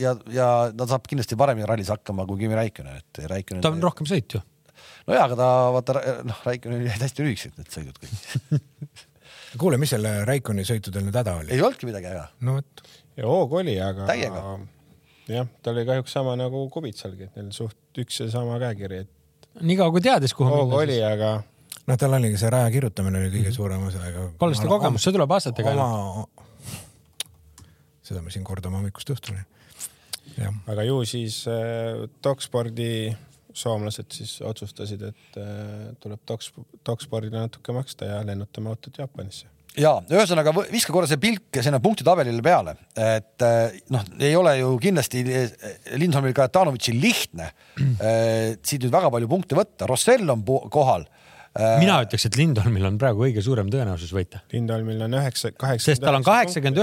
S1: ja , ja ta saab kindlasti paremini rallis hakkama kui Kimi Räikkönen , et Räikkönen .
S3: ta on rohkem sõit ju .
S1: nojaa , aga ta vaata , noh , Räikkönenil jäid hästi lühikesed need sõidud kõik .
S2: kuule , mis selle Raikoni sõitudel nüüd häda oli ?
S1: ei olnudki midagi väga .
S2: no vot ,
S4: ja hoog oli , aga .
S1: Täiega.
S4: jah , ta oli kahjuks sama nagu Kubitsalgi , et neil suht üks ja sama käekiri , et
S3: niikaua kui teadis , kuhu
S4: hoog
S3: minna,
S4: oli , aga
S2: noh , tal oligi see raja
S1: Mhm.
S2: kirjutamine oli kõige suurem osa , aga .
S3: pole seda kogemust , see tuleb aastatega
S2: oma , seda me siin kordame hommikust õhtuni . jah ,
S4: aga ju siis äh, Dokspordi soomlased siis otsustasid , et äh, tuleb Doks , Dokspordile natuke maksta ja lennutame autod Jaapanisse .
S1: ja ühesõnaga võ- viska korra see pilk sinna punktitabelile peale , et eh, noh , ei ole ju kindlasti eh, Lindholmil Kajatanovitšil lihtne eh, siit nüüd väga palju punkte võtta , Rossell on po- kohal . Eh,
S3: mina ütleks , et Lindholmil on praegu kõige suurem tõenäosus võita ,
S4: Lindholmil on üheksa , kaheksa .
S3: sest tal on kaheksakümmend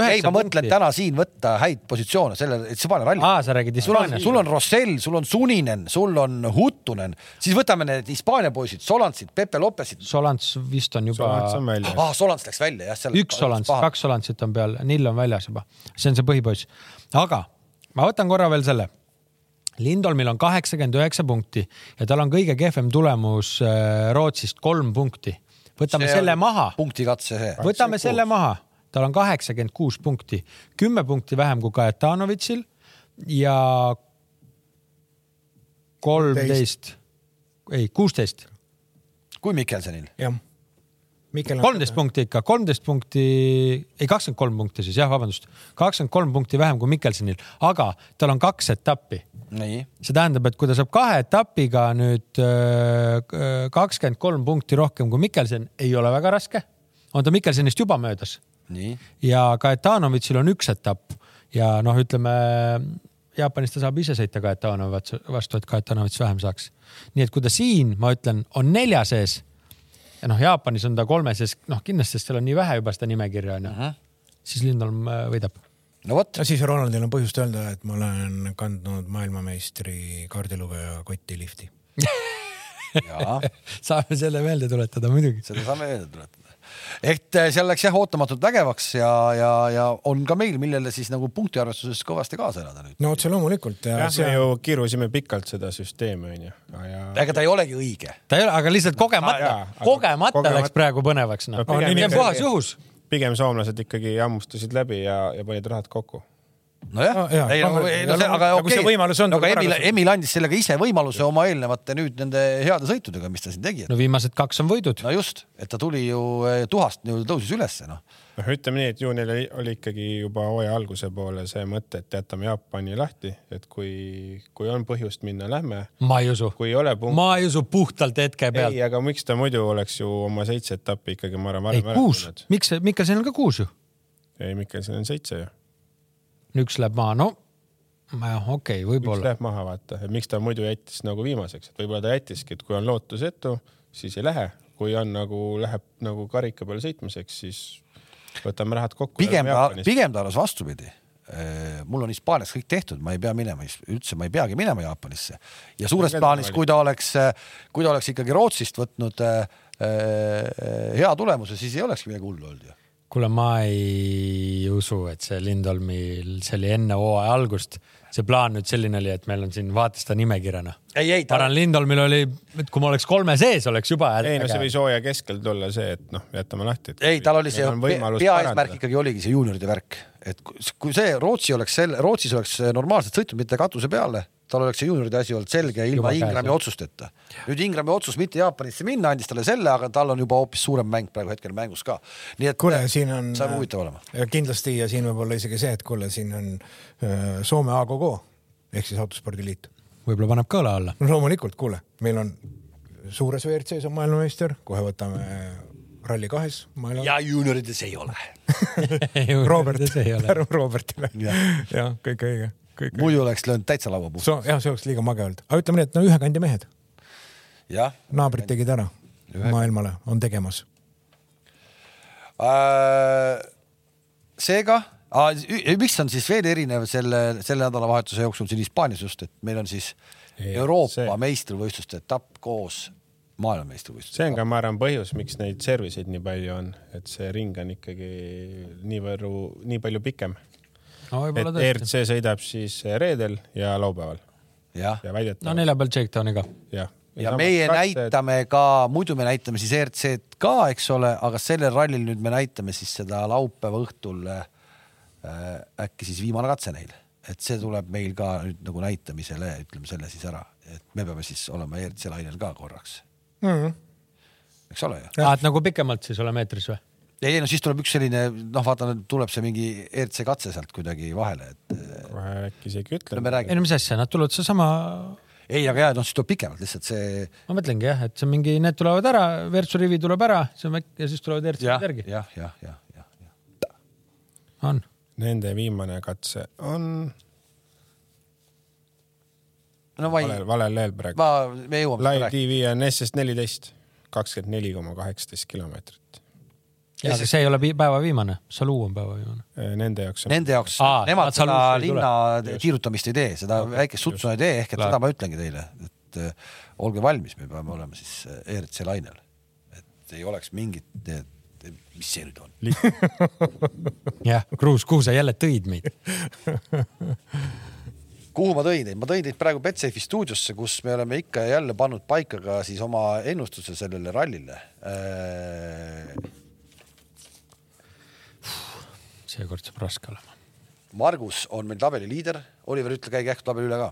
S1: ei ,
S3: üheksa
S1: ma mõtlen
S3: punkti .
S1: täna siin võtta häid positsioone sellele , et see pane ralli .
S3: aa , sa räägid
S1: sul on ,
S3: Hispaaniast ?
S1: sul on Rossell , sul on Suninen , sul on Huttunen , siis võtame need Hispaania poisid , Solantsid , Pepe Lopesid .
S3: Solants vist on juba ,
S4: Solants on väljas ah. .
S1: ah , Solants läks välja jah , seal .
S3: üks Solants , kaks Solantsit on peal , Nill on väljas juba , see on see põhipoiss . aga ma võtan korra veel selle . Lindholmil on kaheksakümmend üheksa punkti ja tal on kõige kehvem tulemus äh, Rootsist kolm punkti . võtame see selle maha
S1: punkti katse see .
S3: võtame selle maha , tal on kaheksakümmend kuus punkti , kümme punkti vähem kui Kajetanovitšil ja kolmteist , ei kuusteist ,
S1: kui Mikkelsonil .
S2: jah . Mikkel on
S3: kolmteist punkti ikka , kolmteist punkti , ei kakskümmend kolm punkti siis jah , vabandust , kakskümmend kolm punkti vähem kui Mikkelsonil , aga tal on kaks etappi
S1: nii .
S3: see tähendab , et kui ta saab kahe etapiga nüüd äh, kakskümmend kolm punkti rohkem kui Mikkelson , ei ole väga raske . on ta Mikkelsonist juba möödas
S1: nii .
S3: ja Kajetanovitšil on üks etapp ja noh , ütleme Jaapanis ta saab ise sõita Kajetanov vastu , et Kajetanovitš vähem saaks . nii et kui ta siin , ma ütlen , on nelja sees ja noh , Jaapanis on ta kolme sees , noh kindlasti , sest seal on nii vähe juba seda nimekirja onju , siis Lindholm äh, võidab .
S1: no vot ,
S2: no siis Ronaldil on põhjust öelda , et ma olen kandnud maailmameistri kaardilugeja kotti lifti .
S1: jaa ,
S3: saame selle meelde tuletada muidugi .
S1: seda saame meelde tuletada . et eh, seal läks jah ootamatult vägevaks ja , ja , ja on ka meil , millele siis nagu punktiarvestuses kõvasti kaasa elada nüüd .
S2: no otse loomulikult ja,
S4: jah , me
S2: see,
S4: ju kirusime pikalt seda süsteemi onju . ja
S1: ega ta ei olegi õige .
S3: ta ei ole , aga lihtsalt kogemata
S4: Ah, jaa, , aga
S3: kogemata
S4: kogemata-
S3: läks praegu põnevaks noh
S4: No
S3: no, .
S4: pigem
S3: see on
S4: ikkagi-
S3: puhas juhus .
S4: pigem soomlased ikkagi hammustasid läbi ja , ja panid rahad kokku .
S1: nojah
S2: No jaa,
S1: ei no ,
S2: pange-
S1: ei no see , aga
S2: no kui
S1: okei
S2: see võimalus on,
S1: no, aga
S2: tuleb ära
S1: Emil ,
S2: kasutada.
S1: Emil andis sellega ise võimaluse oma eelnevate nüüd nende heade sõitudega , mis ta siin tegi .
S3: no viimased kaks on võidud .
S1: no just , et ta tuli ju eh, tuhast ju tõusis ülesse noh .
S4: noh , ütleme nii , et ju neil oli, oli ikkagi juba hooaja alguse poole see mõte , et jätame Jaapani lahti , et kui , kui on põhjust minna , lähme .
S3: ma ei usu .
S4: kui ei ole punkti ,
S3: ma ei usu puhtalt hetke pealt
S4: ei ,. aga miks ta muidu oleks ju oma seitse etappi ikkagi , ma arvan ,
S3: ei ,
S4: varem ära
S3: kuus
S4: teinud .,
S3: miks , Mikkelson on ka kuus ju .
S4: ei , Mikkelson on seitse ju .
S3: üks läheb maha , no ma- okei okay, ,
S4: üks
S3: võib-olla .
S4: läheb maha , vaata , et miks ta muidu jättis nagu viimaseks , et võib-olla ta jättiski , et kui on lootusetu , siis ei lähe , kui on nagu , läheb nagu karika peale sõitmiseks , siis võtame rahad kokku .
S1: pigem ta , pigem ta arvas vastupidi . mul on Hispaanias kõik tehtud , ma ei pea minema , üldse ma ei peagi minema Jaapanisse ja suures
S4: Väga
S1: plaanis ,
S4: tavaline.
S1: kui ta oleks , kui ta oleks ikkagi Rootsist võtnud äh, äh, hea tulemuse , siis ei olekski midagi hullu olnud ju .
S3: kuule , ma ei usu , et see Lindholmil , see oli enne hooaja algust , see plaan nüüd selline oli , et meil on siin vaata seda nimekirjana .
S1: ei , ei
S3: ma arvan , Lindholmil oli , et kui ma oleks kolme sees , oleks juba .
S4: ei no see võis hooaja keskel tulla see , et noh , jätame lahti .
S1: ei , tal oli see pe- peaeesmärk . ikkagi oligi see juunioride värk , et ku- kui see Rootsi oleks selle , Rootsis oleks normaalselt sõitnud , mitte katuse peale , tal oleks see juunioride asi olnud selge ilma
S3: Juba käes,
S1: Ingrami
S3: jah.
S1: otsusteta . nüüd Ingrami otsus mitte Jaapanisse minna andis talle selle , aga tal on juba hoopis suurem mäng praegu hetkel mängus ka . nii et
S2: kuule , siin on . äh,
S1: saab huvitav olema .
S2: kindlasti ja siin võib olla isegi see , et kuule , siin on äh, Soome AGG ehk siis autospordiliit .
S3: võib-olla paneb kõla alla .
S2: no loomulikult , kuule , meil on suures WRC-s on maailmameister , kohe võtame äh, Rally kahes maailma .
S1: ja juuniorides ei ole .
S2: Robert
S3: see ei , ole .
S2: tänu Robertile . jah , kõik õige , kõik õige .
S1: muidu oleks löönud täitsa laua puhul .
S2: So, jah , see oleks liiga mage olnud , aga ütleme nii , et no ühe kandi mehed ,
S1: jah
S2: naabrid tegid ära maailmale , on tegemas .
S1: äh, . seega , miks on siis veel erinev selle , selle nädalavahetuse jooksul siin Hispaanias just , et meil on siis
S4: Ei,
S1: Euroopa see.
S4: see-
S1: meistrivõistluste etapp koos maailmameistrivõistluste .
S4: see on ka , ma arvan , põhjus , miks neid service'id nii palju on , et see ring on ikkagi niivõrd , nii palju pikem .
S3: no
S4: et
S3: võib-olla tõesti .
S4: ERC sõidab siis reedel ja laupäeval
S1: jah ,
S4: ja
S3: no
S4: väidetavalt
S3: neljapäeval Checkdowniga .
S4: jah .
S1: ja meie näitame ka , muidu me näitame siis ERC-d ka , eks ole , aga sellel rallil nüüd me näitame siis seda laupäeva õhtul äh, äkki siis viimane katse neil , et see tuleb meil ka nüüd nagu näitamisele , ütleme selle siis ära , et me peame siis olema ERC lainel ka korraks ,
S2: Mm -hmm.
S1: eks ole ju .
S3: Ah, aa , et nagu pikemalt siis oleme eetris või ?
S1: ei no siis tuleb üks selline noh , vaata nüüd tuleb see mingi ERC katse sealt kuidagi vahele , et eh,
S4: kohe äkki isegi
S1: no
S4: ütlen
S1: me .
S3: ei
S1: räägime .
S3: no mis asja , nad tulevad seesama ,
S1: ei , aga jaa , noh siis tuleb pikemalt lihtsalt see .
S3: ma mõtlengi jah , et see mingi , need tulevad ära , Virtsu rivi tuleb ära , see on väike ja siis tulevad
S1: jah ,
S3: ERC-d järgi .
S1: jah , jah , jah , jah .
S3: on ,
S4: Nende viimane katse on
S1: no ma ei
S4: valel , valel lehel praegu .
S1: ma , me jõuame
S4: Live
S1: seda rääkida .
S4: TV on SS neliteist , kakskümmend neli koma kaheksateist kilomeetrit .
S3: aga see ei ole pi- päeva viimane , Saluu on päeva viimane .
S4: Äh, Nende jaoks on .
S1: Nende jaoks
S3: Aa, ,
S1: nemad
S3: nad
S1: seda
S3: Salusse ei tule.
S1: linna tiirutamist ei tee , seda väikest sutsu ei tee , ehk et
S3: Lahe.
S1: seda ma ütlengi teile , et eh, olge valmis , me peame olema siis eh, ERC lainel . et ei oleks mingit , mis see nüüd on .
S3: jah , Kruus , kuhu sa jälle tõid meid ?
S1: kuhu ma tõin teid , ma tõin teid praegu Betsafe'i stuudiosse , kus me oleme ikka ja jälle pannud paika ka siis oma ennustuse sellele rallile . Äh,
S3: seekord saab raske olema .
S1: Margus on meil tabeli liider , Oliver , ütle , käige äkki tabeli üle ka .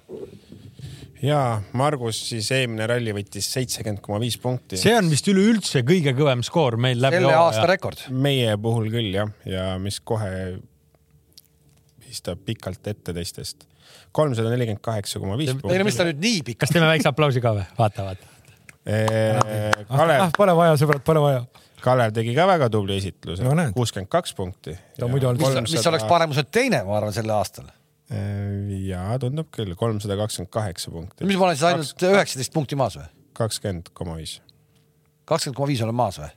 S4: ja Margus siis eelmine ralli võttis seitsekümmend koma viis punkti .
S3: see on vist üleüldse kõige kõvem skoor meil läbi
S1: selle aasta . rekord .
S4: meie puhul küll jah , ja mis kohe pistab pikalt ette teistest . kolmsada nelikümmend kaheksa koma viis
S1: ei no
S4: punkti .
S1: mis ta nüüd nii pikk ,
S3: kas teeme väikse aplausi ka või ? vaata , vaata .
S4: Kalev
S2: ah , pole vaja , sõbrad , pole vaja .
S4: Kalev tegi ka väga tubli esitluse
S2: No näed. ,
S4: kuuskümmend kaks punkti .
S2: Ta muidu olnud-
S1: mis, mis oleks paremuselt teine , ma arvan , sel aastal .
S4: Äh, jaa , tundub küll , kolmsada kakskümmend kaheksa punkti .
S1: mis ma olen siis ainult üheksateist punkti maas või ?
S4: kakskümmend koma viis .
S1: kakskümmend koma viis olen maas või ?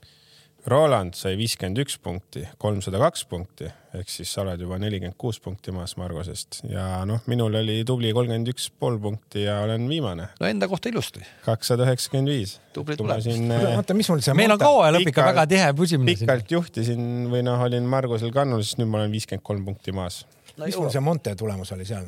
S4: Roland sai viiskümmend üks punkti , kolmsada kaks punkti ehk siis sa oled juba nelikümmend kuus punkti maas Margusest ja noh , minul oli tubli kolmkümmend üks pool punkti ja olen viimane ,
S1: no enda kohta ilusti .
S4: kakssada üheksakümmend viis .
S1: Tubli
S4: ma
S1: tulemus.
S4: siin eh,
S2: oota , mis mul see
S3: meil on
S2: Malta-
S3: kaua lõpp ikka
S4: pikalt-
S3: väga tihe pusimine siin .
S4: pikalt juhtisin või noh , olin Margusel kannul , siis nüüd ma olen viiskümmend kolm punkti maas .
S2: mis mul see Monte tulemus oli seal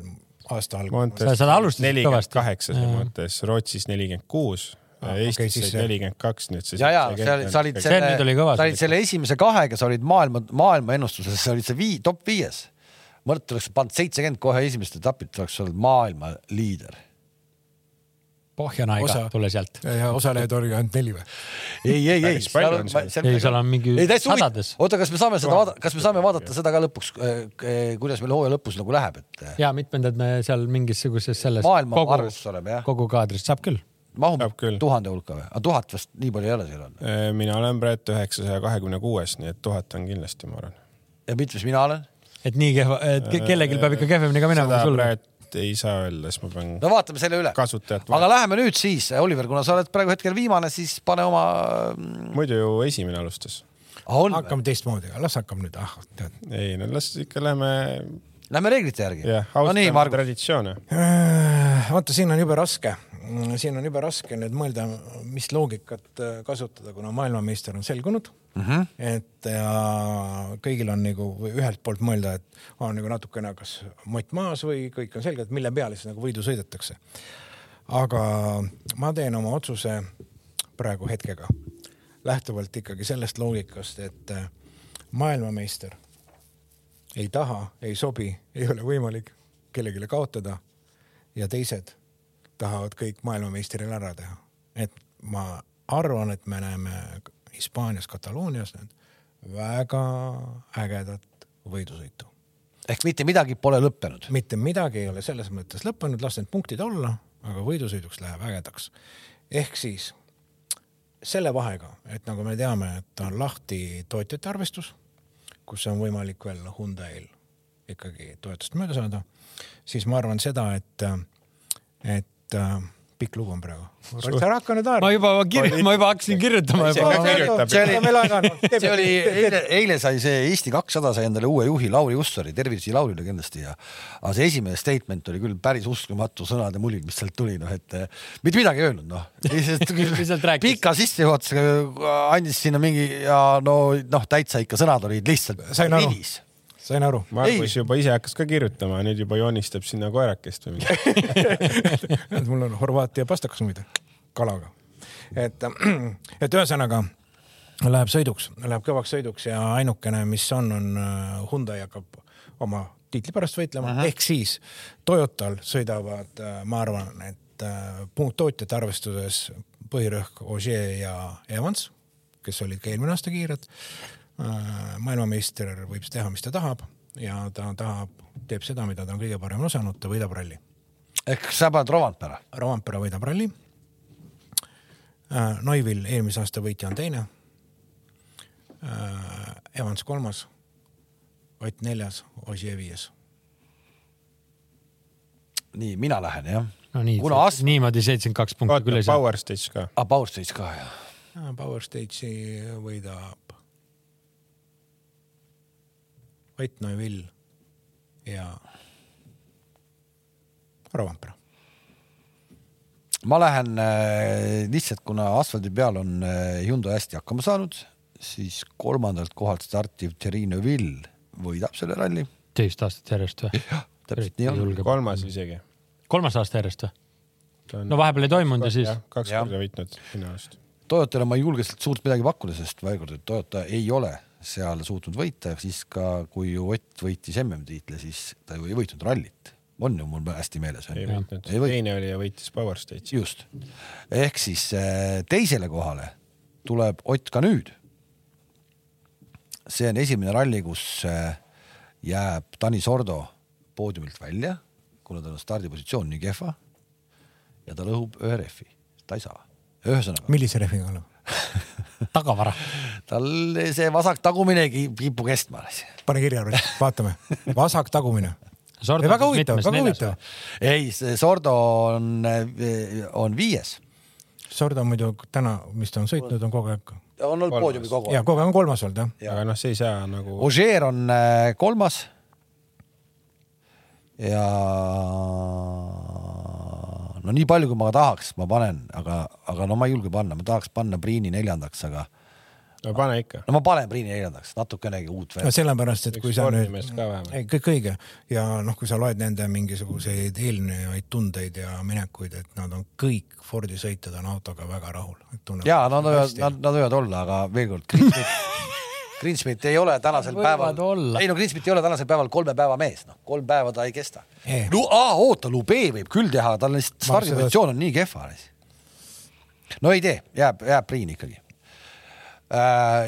S2: aasta algul ?
S3: Sa- sa alustasid
S4: nelikümmend
S3: kõvasti. Ah,
S4: kaheksa selles mõttes , Rootsis nelikümmend kuus ,
S2: okei,
S4: Eestis
S2: siis
S4: sai
S2: see-
S4: nelikümmend kaks , nüüd siis .
S1: ja , ja sa olid , sa olid selle ,
S3: nüüd oli kõva
S1: sa olid
S3: see
S1: selle esimese kahega , sa olid maailma , maailma ennustuses , sa olid see vii- , top viies . Mart oleks pannud seitsekümmend kohe esimest etapit , oleks olnud maailma liider .
S3: Pohjanaiga
S2: Osa- ,
S3: tule sealt .
S2: ja osalejaid oli ainult neli või ?
S1: ei , ei , ei .
S4: Päris palju on seal.
S3: ei , seal on mingi
S1: ei täitsa huvitav
S3: sadades .,
S1: oota , kas me saame seda vaadata , kas me saame vaadata seda ka lõpuks , kuidas meil hooaja lõpus nagu läheb , et eh,
S3: ja mitmendad me seal mingisuguses selles
S1: Maailma
S3: kogu-
S1: arvus oleme, jah.
S3: kogu kaadris saab küll .
S1: mahub
S4: Saab küll.
S1: tuhande hulka või ? aga tuhat vast nii palju ei ole seal on .
S4: Äh, mina olen praegu üheksasaja kahekümne kuues , nii et tuhat on kindlasti , ma arvan .
S1: ja mitmes mina olen ?
S3: et nii kehva , et ke- kellelgi peab ikka kehvemini ka minema
S4: seda
S3: kui sul .
S4: praegu ei saa öelda , siis ma pean no.
S1: no vaatame selle üle .
S4: kasutajat
S1: aga läheme nüüd siis , Oliver , kuna sa oled praegu hetkel viimane , siis pane oma . mm,
S4: muidu ju esimene alustas .
S1: on ,
S2: hakkame teistmoodi , las hakkame nüüd , ah tead .
S4: ei no las ikka lähme ,
S1: lähme reeglite järgi .
S4: jah ,
S1: no nii ,
S4: austame no,
S1: Margus ,
S4: traditsioone .
S2: Äh, vaata , siin on jube raske , siin on jube raske nüüd mõelda , mis loogikat äh, kasutada , kuna maailmameister on selgunud mm . -hmm. et ja kõigil on nagu või ühelt poolt mõelda , et on nagu natukene kas mott maas või kõik on selge , et mille peale siis nagu võidu sõidetakse . aga ma teen oma otsuse praegu hetkega , lähtuvalt ikkagi sellest loogikast , et äh, maailmameister ei taha , ei sobi , ei ole võimalik kellelegi kaotada ja teised tahavad kõik maailmameistrile ära teha . et ma arvan , et me näeme Hispaanias , Kataloonias nüüd väga ägedat võidusõitu .
S1: ehk mitte midagi pole lõppenud .
S2: mitte midagi ei ole selles mõttes lõppenud , las need punktid olla , aga võidusõiduks läheb ägedaks . ehk siis selle vahega , et nagu me teame , et on lahti tootjate arvestus , kus on võimalik veel Hyundai'l ikkagi toetust mööda saada , siis ma arvan seda , et , et äh, pikk lugu on praegu . oled sa ära hakanud
S3: ma
S2: haarama ?
S3: juba kirja , ma juba hakkasin kirjutama juba .
S4: kirjutab.
S1: see oli eile , eile sai see Eesti kakssada sai endale uue juhi Lauri Ussari , tervitusi Laurile kindlasti ja aga see esimene statement oli küll päris uskumatu sõnade mulin , mis sealt tuli , noh et eh, mitte midagi ei öelnud , noh .
S3: Lihtsalt rääkis.
S1: pika sissejuhatusega andis sinna mingi ja no noh , täitsa ikka sõnad olid lihtsalt .
S2: Sain aru. sain aru .
S4: Margus ei. juba ise hakkas ka kirjutama , nüüd juba joonistab sinna koerakest või midagi .
S2: mul on Horvaatia pastakas muide , kalaga . et , et ühesõnaga läheb sõiduks , läheb kõvaks sõiduks ja ainukene , mis on , on äh, Hyundai hakkab oma tiitli pärast võitlema uh , -huh. ehk siis Toyotal sõidavad , ma arvan , et äh, muud tootjate arvestuses põhirõhk Ogier ja Evans , kes olid ka eelmine aasta kiired . maailmameister võib siis teha , mis ta tahab ja ta tahab , teeb seda , mida ta on kõige parem osanud , ta võidab ralli .
S1: ehk sa paned Rovanpera .
S2: Rompera võidab ralli . Noivil eelmise aasta võitja on teine . Evans kolmas , Ott neljas , Ossie viies .
S1: nii , mina lähen jah .
S3: no nii
S1: kuna , Ast- ,
S3: niimoodi seitsekümmend kaks punkti
S4: vaata
S3: küll ei saa .
S4: Power Stage ka .
S1: ah, Power Stage ka jah .
S2: Äh, Power Stage'i võidab Ott Noivill ja Rompera .
S1: ma lähen äh, lihtsalt , kuna asfaldi peal on äh, Hyundai hästi hakkama saanud , siis kolmandalt kohalt startiv Terino Vill võidab selle ralli .
S3: teist aastat järjest või ?
S1: täpselt nii on .
S4: kolmas isegi .
S3: kolmas aasta järjest või ? no vahepeal ei toimunud ja siis .
S4: kaks
S1: Jah.
S4: korda võitnud minu arust .
S1: Toyotale ma ei julge sealt suurt midagi pakkuda , sest veel kord , et Toyota ei ole seal suutnud võita , siis ka kui ju Ott võitis MM-tiitli , siis ta ju ei võitnud rallit . on ju mul hästi meeles .
S4: ei võitnud .
S1: ei võitnud ,
S4: teine oli ja võitis Power Stage'i .
S1: just . ehk siis äh, teisele kohale tuleb Ott ka nüüd . see on esimene ralli , kus äh, jääb Tanis Ordo poodiumilt välja , kuna tal on stardipositsioon nii kehva ja ta lõhub ühe rehvi , ta ei saa . ühesõnaga .
S2: millise rehviga oleme ?
S3: tagavara .
S1: tal see vasak tagumine ei ki- kipu kestma .
S2: pane kirja , vaatame , vasak tagumine .
S3: Sordo
S2: väga
S3: siis
S2: huvitav ,
S3: mitmes?
S2: väga
S3: Neljas
S2: huvitav .
S1: ei , see Sordo on , on viies .
S2: Sordo muidu täna , mis ta on sõitnud , on kogu aeg ,
S1: on olnud
S4: Kolmas.
S1: poodiumi kogu
S2: ja
S1: aeg .
S2: kogu aeg on kolmas olnud jah .
S1: Jah.
S4: aga noh , see ei saa nagu .
S1: Ožeer on äh, kolmas . ja no nii palju , kui ma tahaks , ma panen , aga , aga no ma ei julge panna , ma tahaks panna Priini neljandaks , aga
S4: no pane ikka .
S1: no ma panen Priini neljandaks , natukenegi uut veel .
S2: sellepärast , et
S4: Üks
S2: kui sa nüüd
S4: spordimees ka vähemalt. ,
S2: kõik õige ja noh , kui sa loed nende mingisuguseid eelnevaid tundeid ja minekuid , et nad on kõik Fordi sõitjad on autoga väga rahul .
S1: ja nad võivad , nad , nad võivad olla , aga veel kord , Greensmith ei ole tänasel
S3: Võivad
S1: päeval
S3: olla. ,
S1: ei no Greensmith ei ole tänasel päeval kolme päeva mees , noh , kolm päeva ta ei kesta
S2: Ei. .
S1: no aa, oota , Lube võib küll teha , tal lihtsalt
S2: Ma arvan,
S1: stardipositsioon on nii kehva . no ei tee , jääb , jääb Priin ikkagi .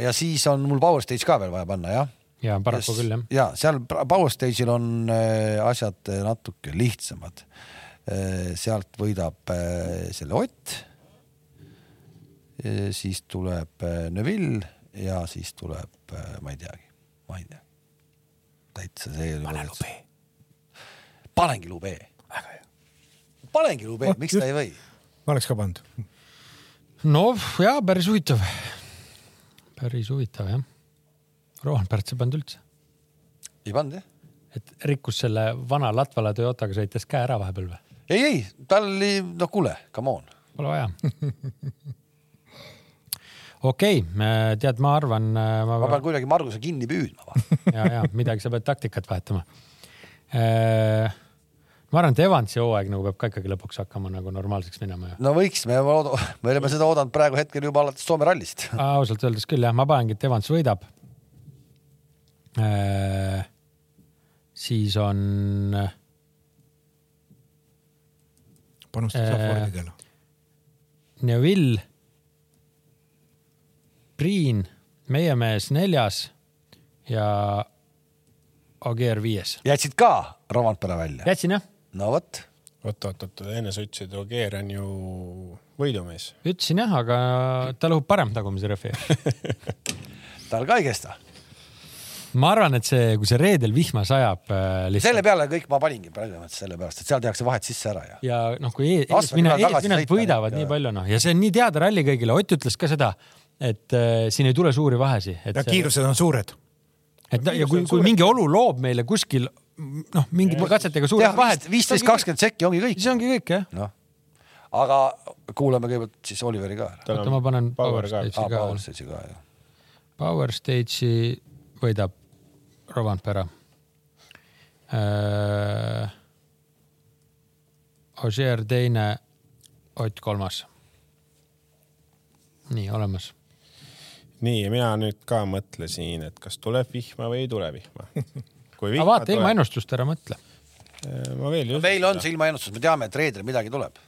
S1: ja siis on mul Power Stage ka veel vaja panna , jah
S3: ja paraku küll jah .
S1: ja seal pra- Power Stage'il on äh, asjad natuke lihtsamad . sealt võidab äh, selle Ott . siis tuleb äh, Neville ja siis tuleb , ma ei teagi , ma ei tea . täitsa see . pane lube . panengi lube . panengi lube , miks ta ei või ?
S2: ma oleks ka pannud .
S3: no ja Noh, päris huvitav . päris huvitav jah . Rohan Pärts ei pannud üldse ,
S1: ei pannud jah ?
S3: et rikkus selle vana Latvala Toyotaga sõites käe ära vahepeal või ?
S1: ei , ei , tal oli , no kuule , come on .
S3: Pole vaja . okei , tead , ma arvan , ma
S1: ma pean kuidagi Marguse kinni püüdma .
S3: ja , ja midagi , sa pead taktikat vahetama . ma arvan , et Evansi hooaeg nagu peab ka ikkagi lõpuks hakkama nagu normaalseks minema ju .
S1: no võiks , me , me oleme seda oodanud praegu hetkel juba alates Soome rallist .
S3: Äh, ausalt öeldes küll jah , ma panengi , et Evans võidab . siis on ,
S2: panustada saab
S3: Äh,
S2: Fordidele .
S3: Neville , Priin , meie mees neljas ja Ogier viies .
S1: jätsid ka Rovanpera välja ?
S3: jätsin jah ,
S1: no vot ,
S4: oot , oot , oot , enne sa ütlesid , Ogier on ju võidumees .
S3: ütlesin jah , aga ta lõhub parem tagumise rehvi
S1: tal ka ei kesta .
S3: ma arvan , et see , kui see reedel vihma sajab äh,
S1: selle
S3: lihtsalt
S1: peale kõik ma paningi praegu sellepärast , et seal tehakse vahet sisse ära ja .
S3: ja noh , kui ees-
S1: Asfaldi
S3: eesmine ,
S1: peal tagasi
S3: eesminejad
S1: sõita,
S3: võidavad
S1: ikka.
S3: nii palju noh , ja see on nii teada ralli kõigile , Ott ütles ka seda , et äh, siin ei tule suuri vahesi , et
S2: ja kiirused on suured .
S3: et no, ja kui , kui mingi olu loob meile kuskil m, noh , mingite katsetega suured vahed .
S1: viisteist , kakskümmend sekki ongi kõik .
S3: see ongi kõik jah .
S1: noh , aga kuulame kõigepealt siis Oliveri ka ära .
S3: oota , ma panen
S4: Power
S3: Power
S4: ka .
S1: aa ,
S3: Stage'i ka
S1: Paul . Seitsi ka jah .
S3: Power Stage'i võidab Rovanpera äh, . Ožeer teine , Ott kolmas . nii olemas .
S4: nii , mina nüüd ka mõtlesin , et kas tuleb vihma või ei tule vihma . kui
S3: aga vaata ilma ennustust ära mõtle .
S4: tuleb , ma veel ei usu
S1: meil on see ilmaennustus , me teame , et reedel midagi tuleb .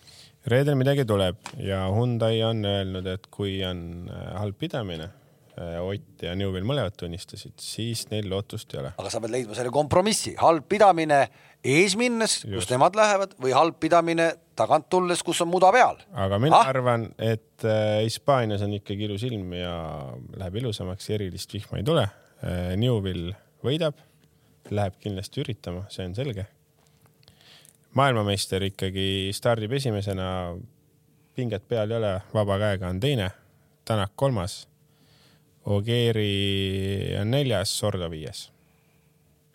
S4: reedel midagi tuleb ja Hyundai on öelnud , et kui on äh, halb pidamine , Ott ja Newvil mõlemad tunnistasid , siis neil lootust ei ole .
S1: aga sa pead leidma selle kompromissi , halb pidamine ees minnes , kus nemad lähevad või halb pidamine tagant tulles , kus on muda peal .
S4: aga mina ah? arvan , et äh, Hispaanias on ikkagi ilus ilm ja läheb ilusamaks , erilist vihma ei tule . Newvil võidab , läheb kindlasti üritama , see on selge . maailmameister ikkagi stardib esimesena , pinget peal ei ole , vaba käega on teine , Tänak kolmas , Ogieri on neljas , Sordo viies .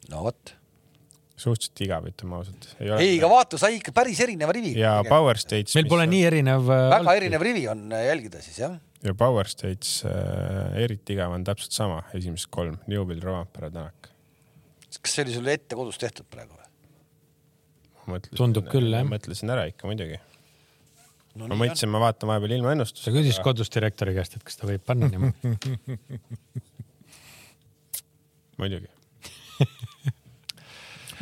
S1: no vot .
S4: suhteliselt igav , ütleme ausalt .
S1: ei , aga vaata , sai ikka päris erineva rivi .
S4: ja Power Stage .
S3: meil pole nii erinev . äh,
S1: väga erinev rivi on äh, jälgida siis jah .
S4: ja Power Stage äh, eriti igav on täpselt sama , esimesed kolm , Newvil , Rompere , Tänak .
S1: kas see oli sul ette kodus tehtud praegu või ?
S3: Tundub küll, jah.
S4: äh, mõtlesin ära ikka muidugi
S1: No
S4: no, . ma mõtlesin , ma vaatan vahepeal ilmaennustust
S3: sa . küsis kodus direktori käest , et kas ta võib panna niimoodi .
S4: muidugi .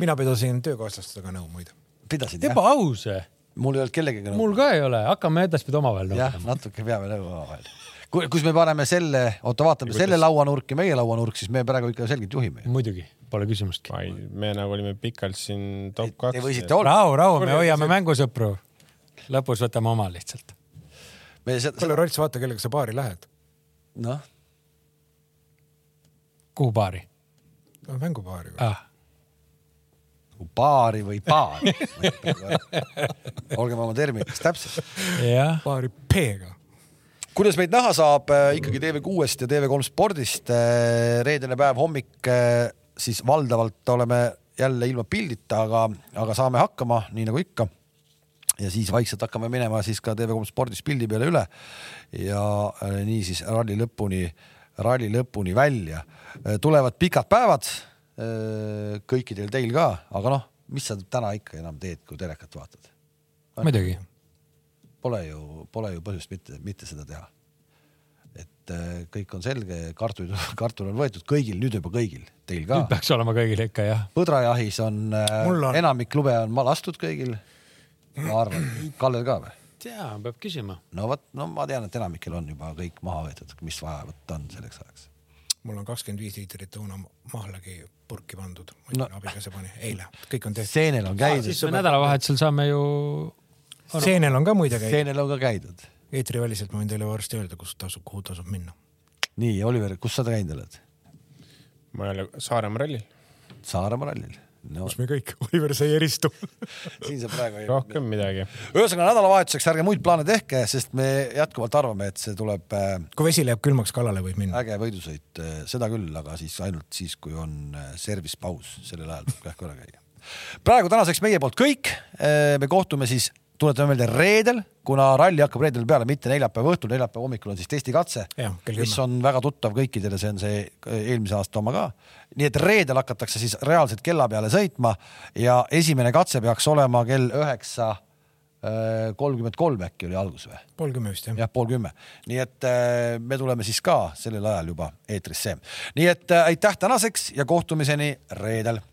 S2: mina pidasin töökaaslastega nõu muide .
S1: pidasid jah ?
S3: ebaaus ,
S1: mul ei olnud kellegagi nõu .
S3: mul ka ei ole , hakkame edaspidi omavahel
S1: jah ,
S3: nõustama .
S1: natuke peame nõu omavahel . kus me paneme selle , oota , vaatame selle lauanurk ja meie lauanurk , siis me praegu ikka selgelt juhime .
S3: muidugi , pole küsimustki .
S4: me nagu olime pikalt siin top
S1: Te
S4: kaks .
S1: võisite olla ,
S3: rahu , rahu , Oh, me hoiame mängusõpru . lõpus võtame oma lihtsalt .
S1: me seda ,
S2: kuule , Rolts , vaata , kellega sa baari lähed .
S1: noh ,
S3: kuhu baari
S2: mängubaari või ?
S3: ah. ?
S1: baari või baar . olgem oma terminites täpsed .
S3: jah ,
S2: baari P-ga .
S1: kuidas meid näha saab äh, ikkagi TV6-st ja TV3 spordist äh, reedene päev hommik , siis valdavalt oleme jälle ilma pildita , aga , aga saame hakkama , nii nagu ikka . ja siis vaikselt hakkame minema siis ka TV3 spordis pildi peale üle ja äh, niisiis ralli lõpuni , ralli lõpuni välja . tulevad pikad päevad äh, kõikidel teil ka , aga noh , mis sa täna ikka enam teed , kui telekat vaatad ?
S3: muidugi .
S1: pole ju , pole ju põhjust mitte , mitte seda teha . et äh, kõik on selge , kartul , kartul on võetud kõigil , nüüd juba kõigil , teil
S3: nüüd
S1: ka .
S3: peaks olema kõigil ikka jah .
S1: põdrajahis on, äh,
S2: Mul on-
S1: enamik lube on ma lastud kõigil . ma arvan , Kallel ka või ?
S3: tea , peab küsima .
S1: no vot , no ma tean , et enamikel on juba kõik maha võetud , mis vaja võtta on selleks ajaks .
S2: mul on kakskümmend viis liitrit õuna mahlagi purki pandud . ma ei
S1: No.
S2: tea , abikaasa pani eile , kõik on tehtud .
S1: seenel on käidud
S3: siis , me nädalavahetusel saame ju .
S2: seenel on ka muide käinud .
S1: seenel on ka käidud .
S2: eetriväliselt ma võin teile varsti öelda , kus tasub , kuhu tasub minna .
S1: nii , Oliver , kus sa käinud oled ?
S4: ma ei ole Saaremaa rallil ,
S1: Saaremaa rallil . no
S2: me kõik , Oliver , sa ei eristu .
S1: siin sa praegu ei
S4: rohkem midagi .
S1: ühesõnaga nädalavahetuseks ärge muid plaane tehke , sest me jätkuvalt arvame , et see tuleb äh,
S2: kui vesi läheb külmaks , kallale võib minna .
S1: äge võidusõit , seda küll , aga siis ainult siis , kui on äh, service paus , sellel ajal tuleb kähku ära käia . praegu tänaseks meie poolt kõik . me kohtume siis , tuletame meelde reedel , kuna ralli hakkab reedel peale , mitte neljapäeva õhtul , neljapäeva hommikul on siis testikatse
S2: Jah, , kell
S1: mis
S2: kümme.
S1: on väga tuttav kõikidele , see on see äh, eelmise aasta oma ka . nii et reedel hakatakse siis reaalselt kella peale sõitma ja esimene katse peaks olema kell üheksa äh, kolmkümmend kolm äkki oli algus või ?
S2: pool kümme vist jah ja. ?
S1: jah , pool kümme , nii et äh, me tuleme siis ka sellel ajal juba eetrisse . nii et äh, aitäh tänaseks ja kohtumiseni reedel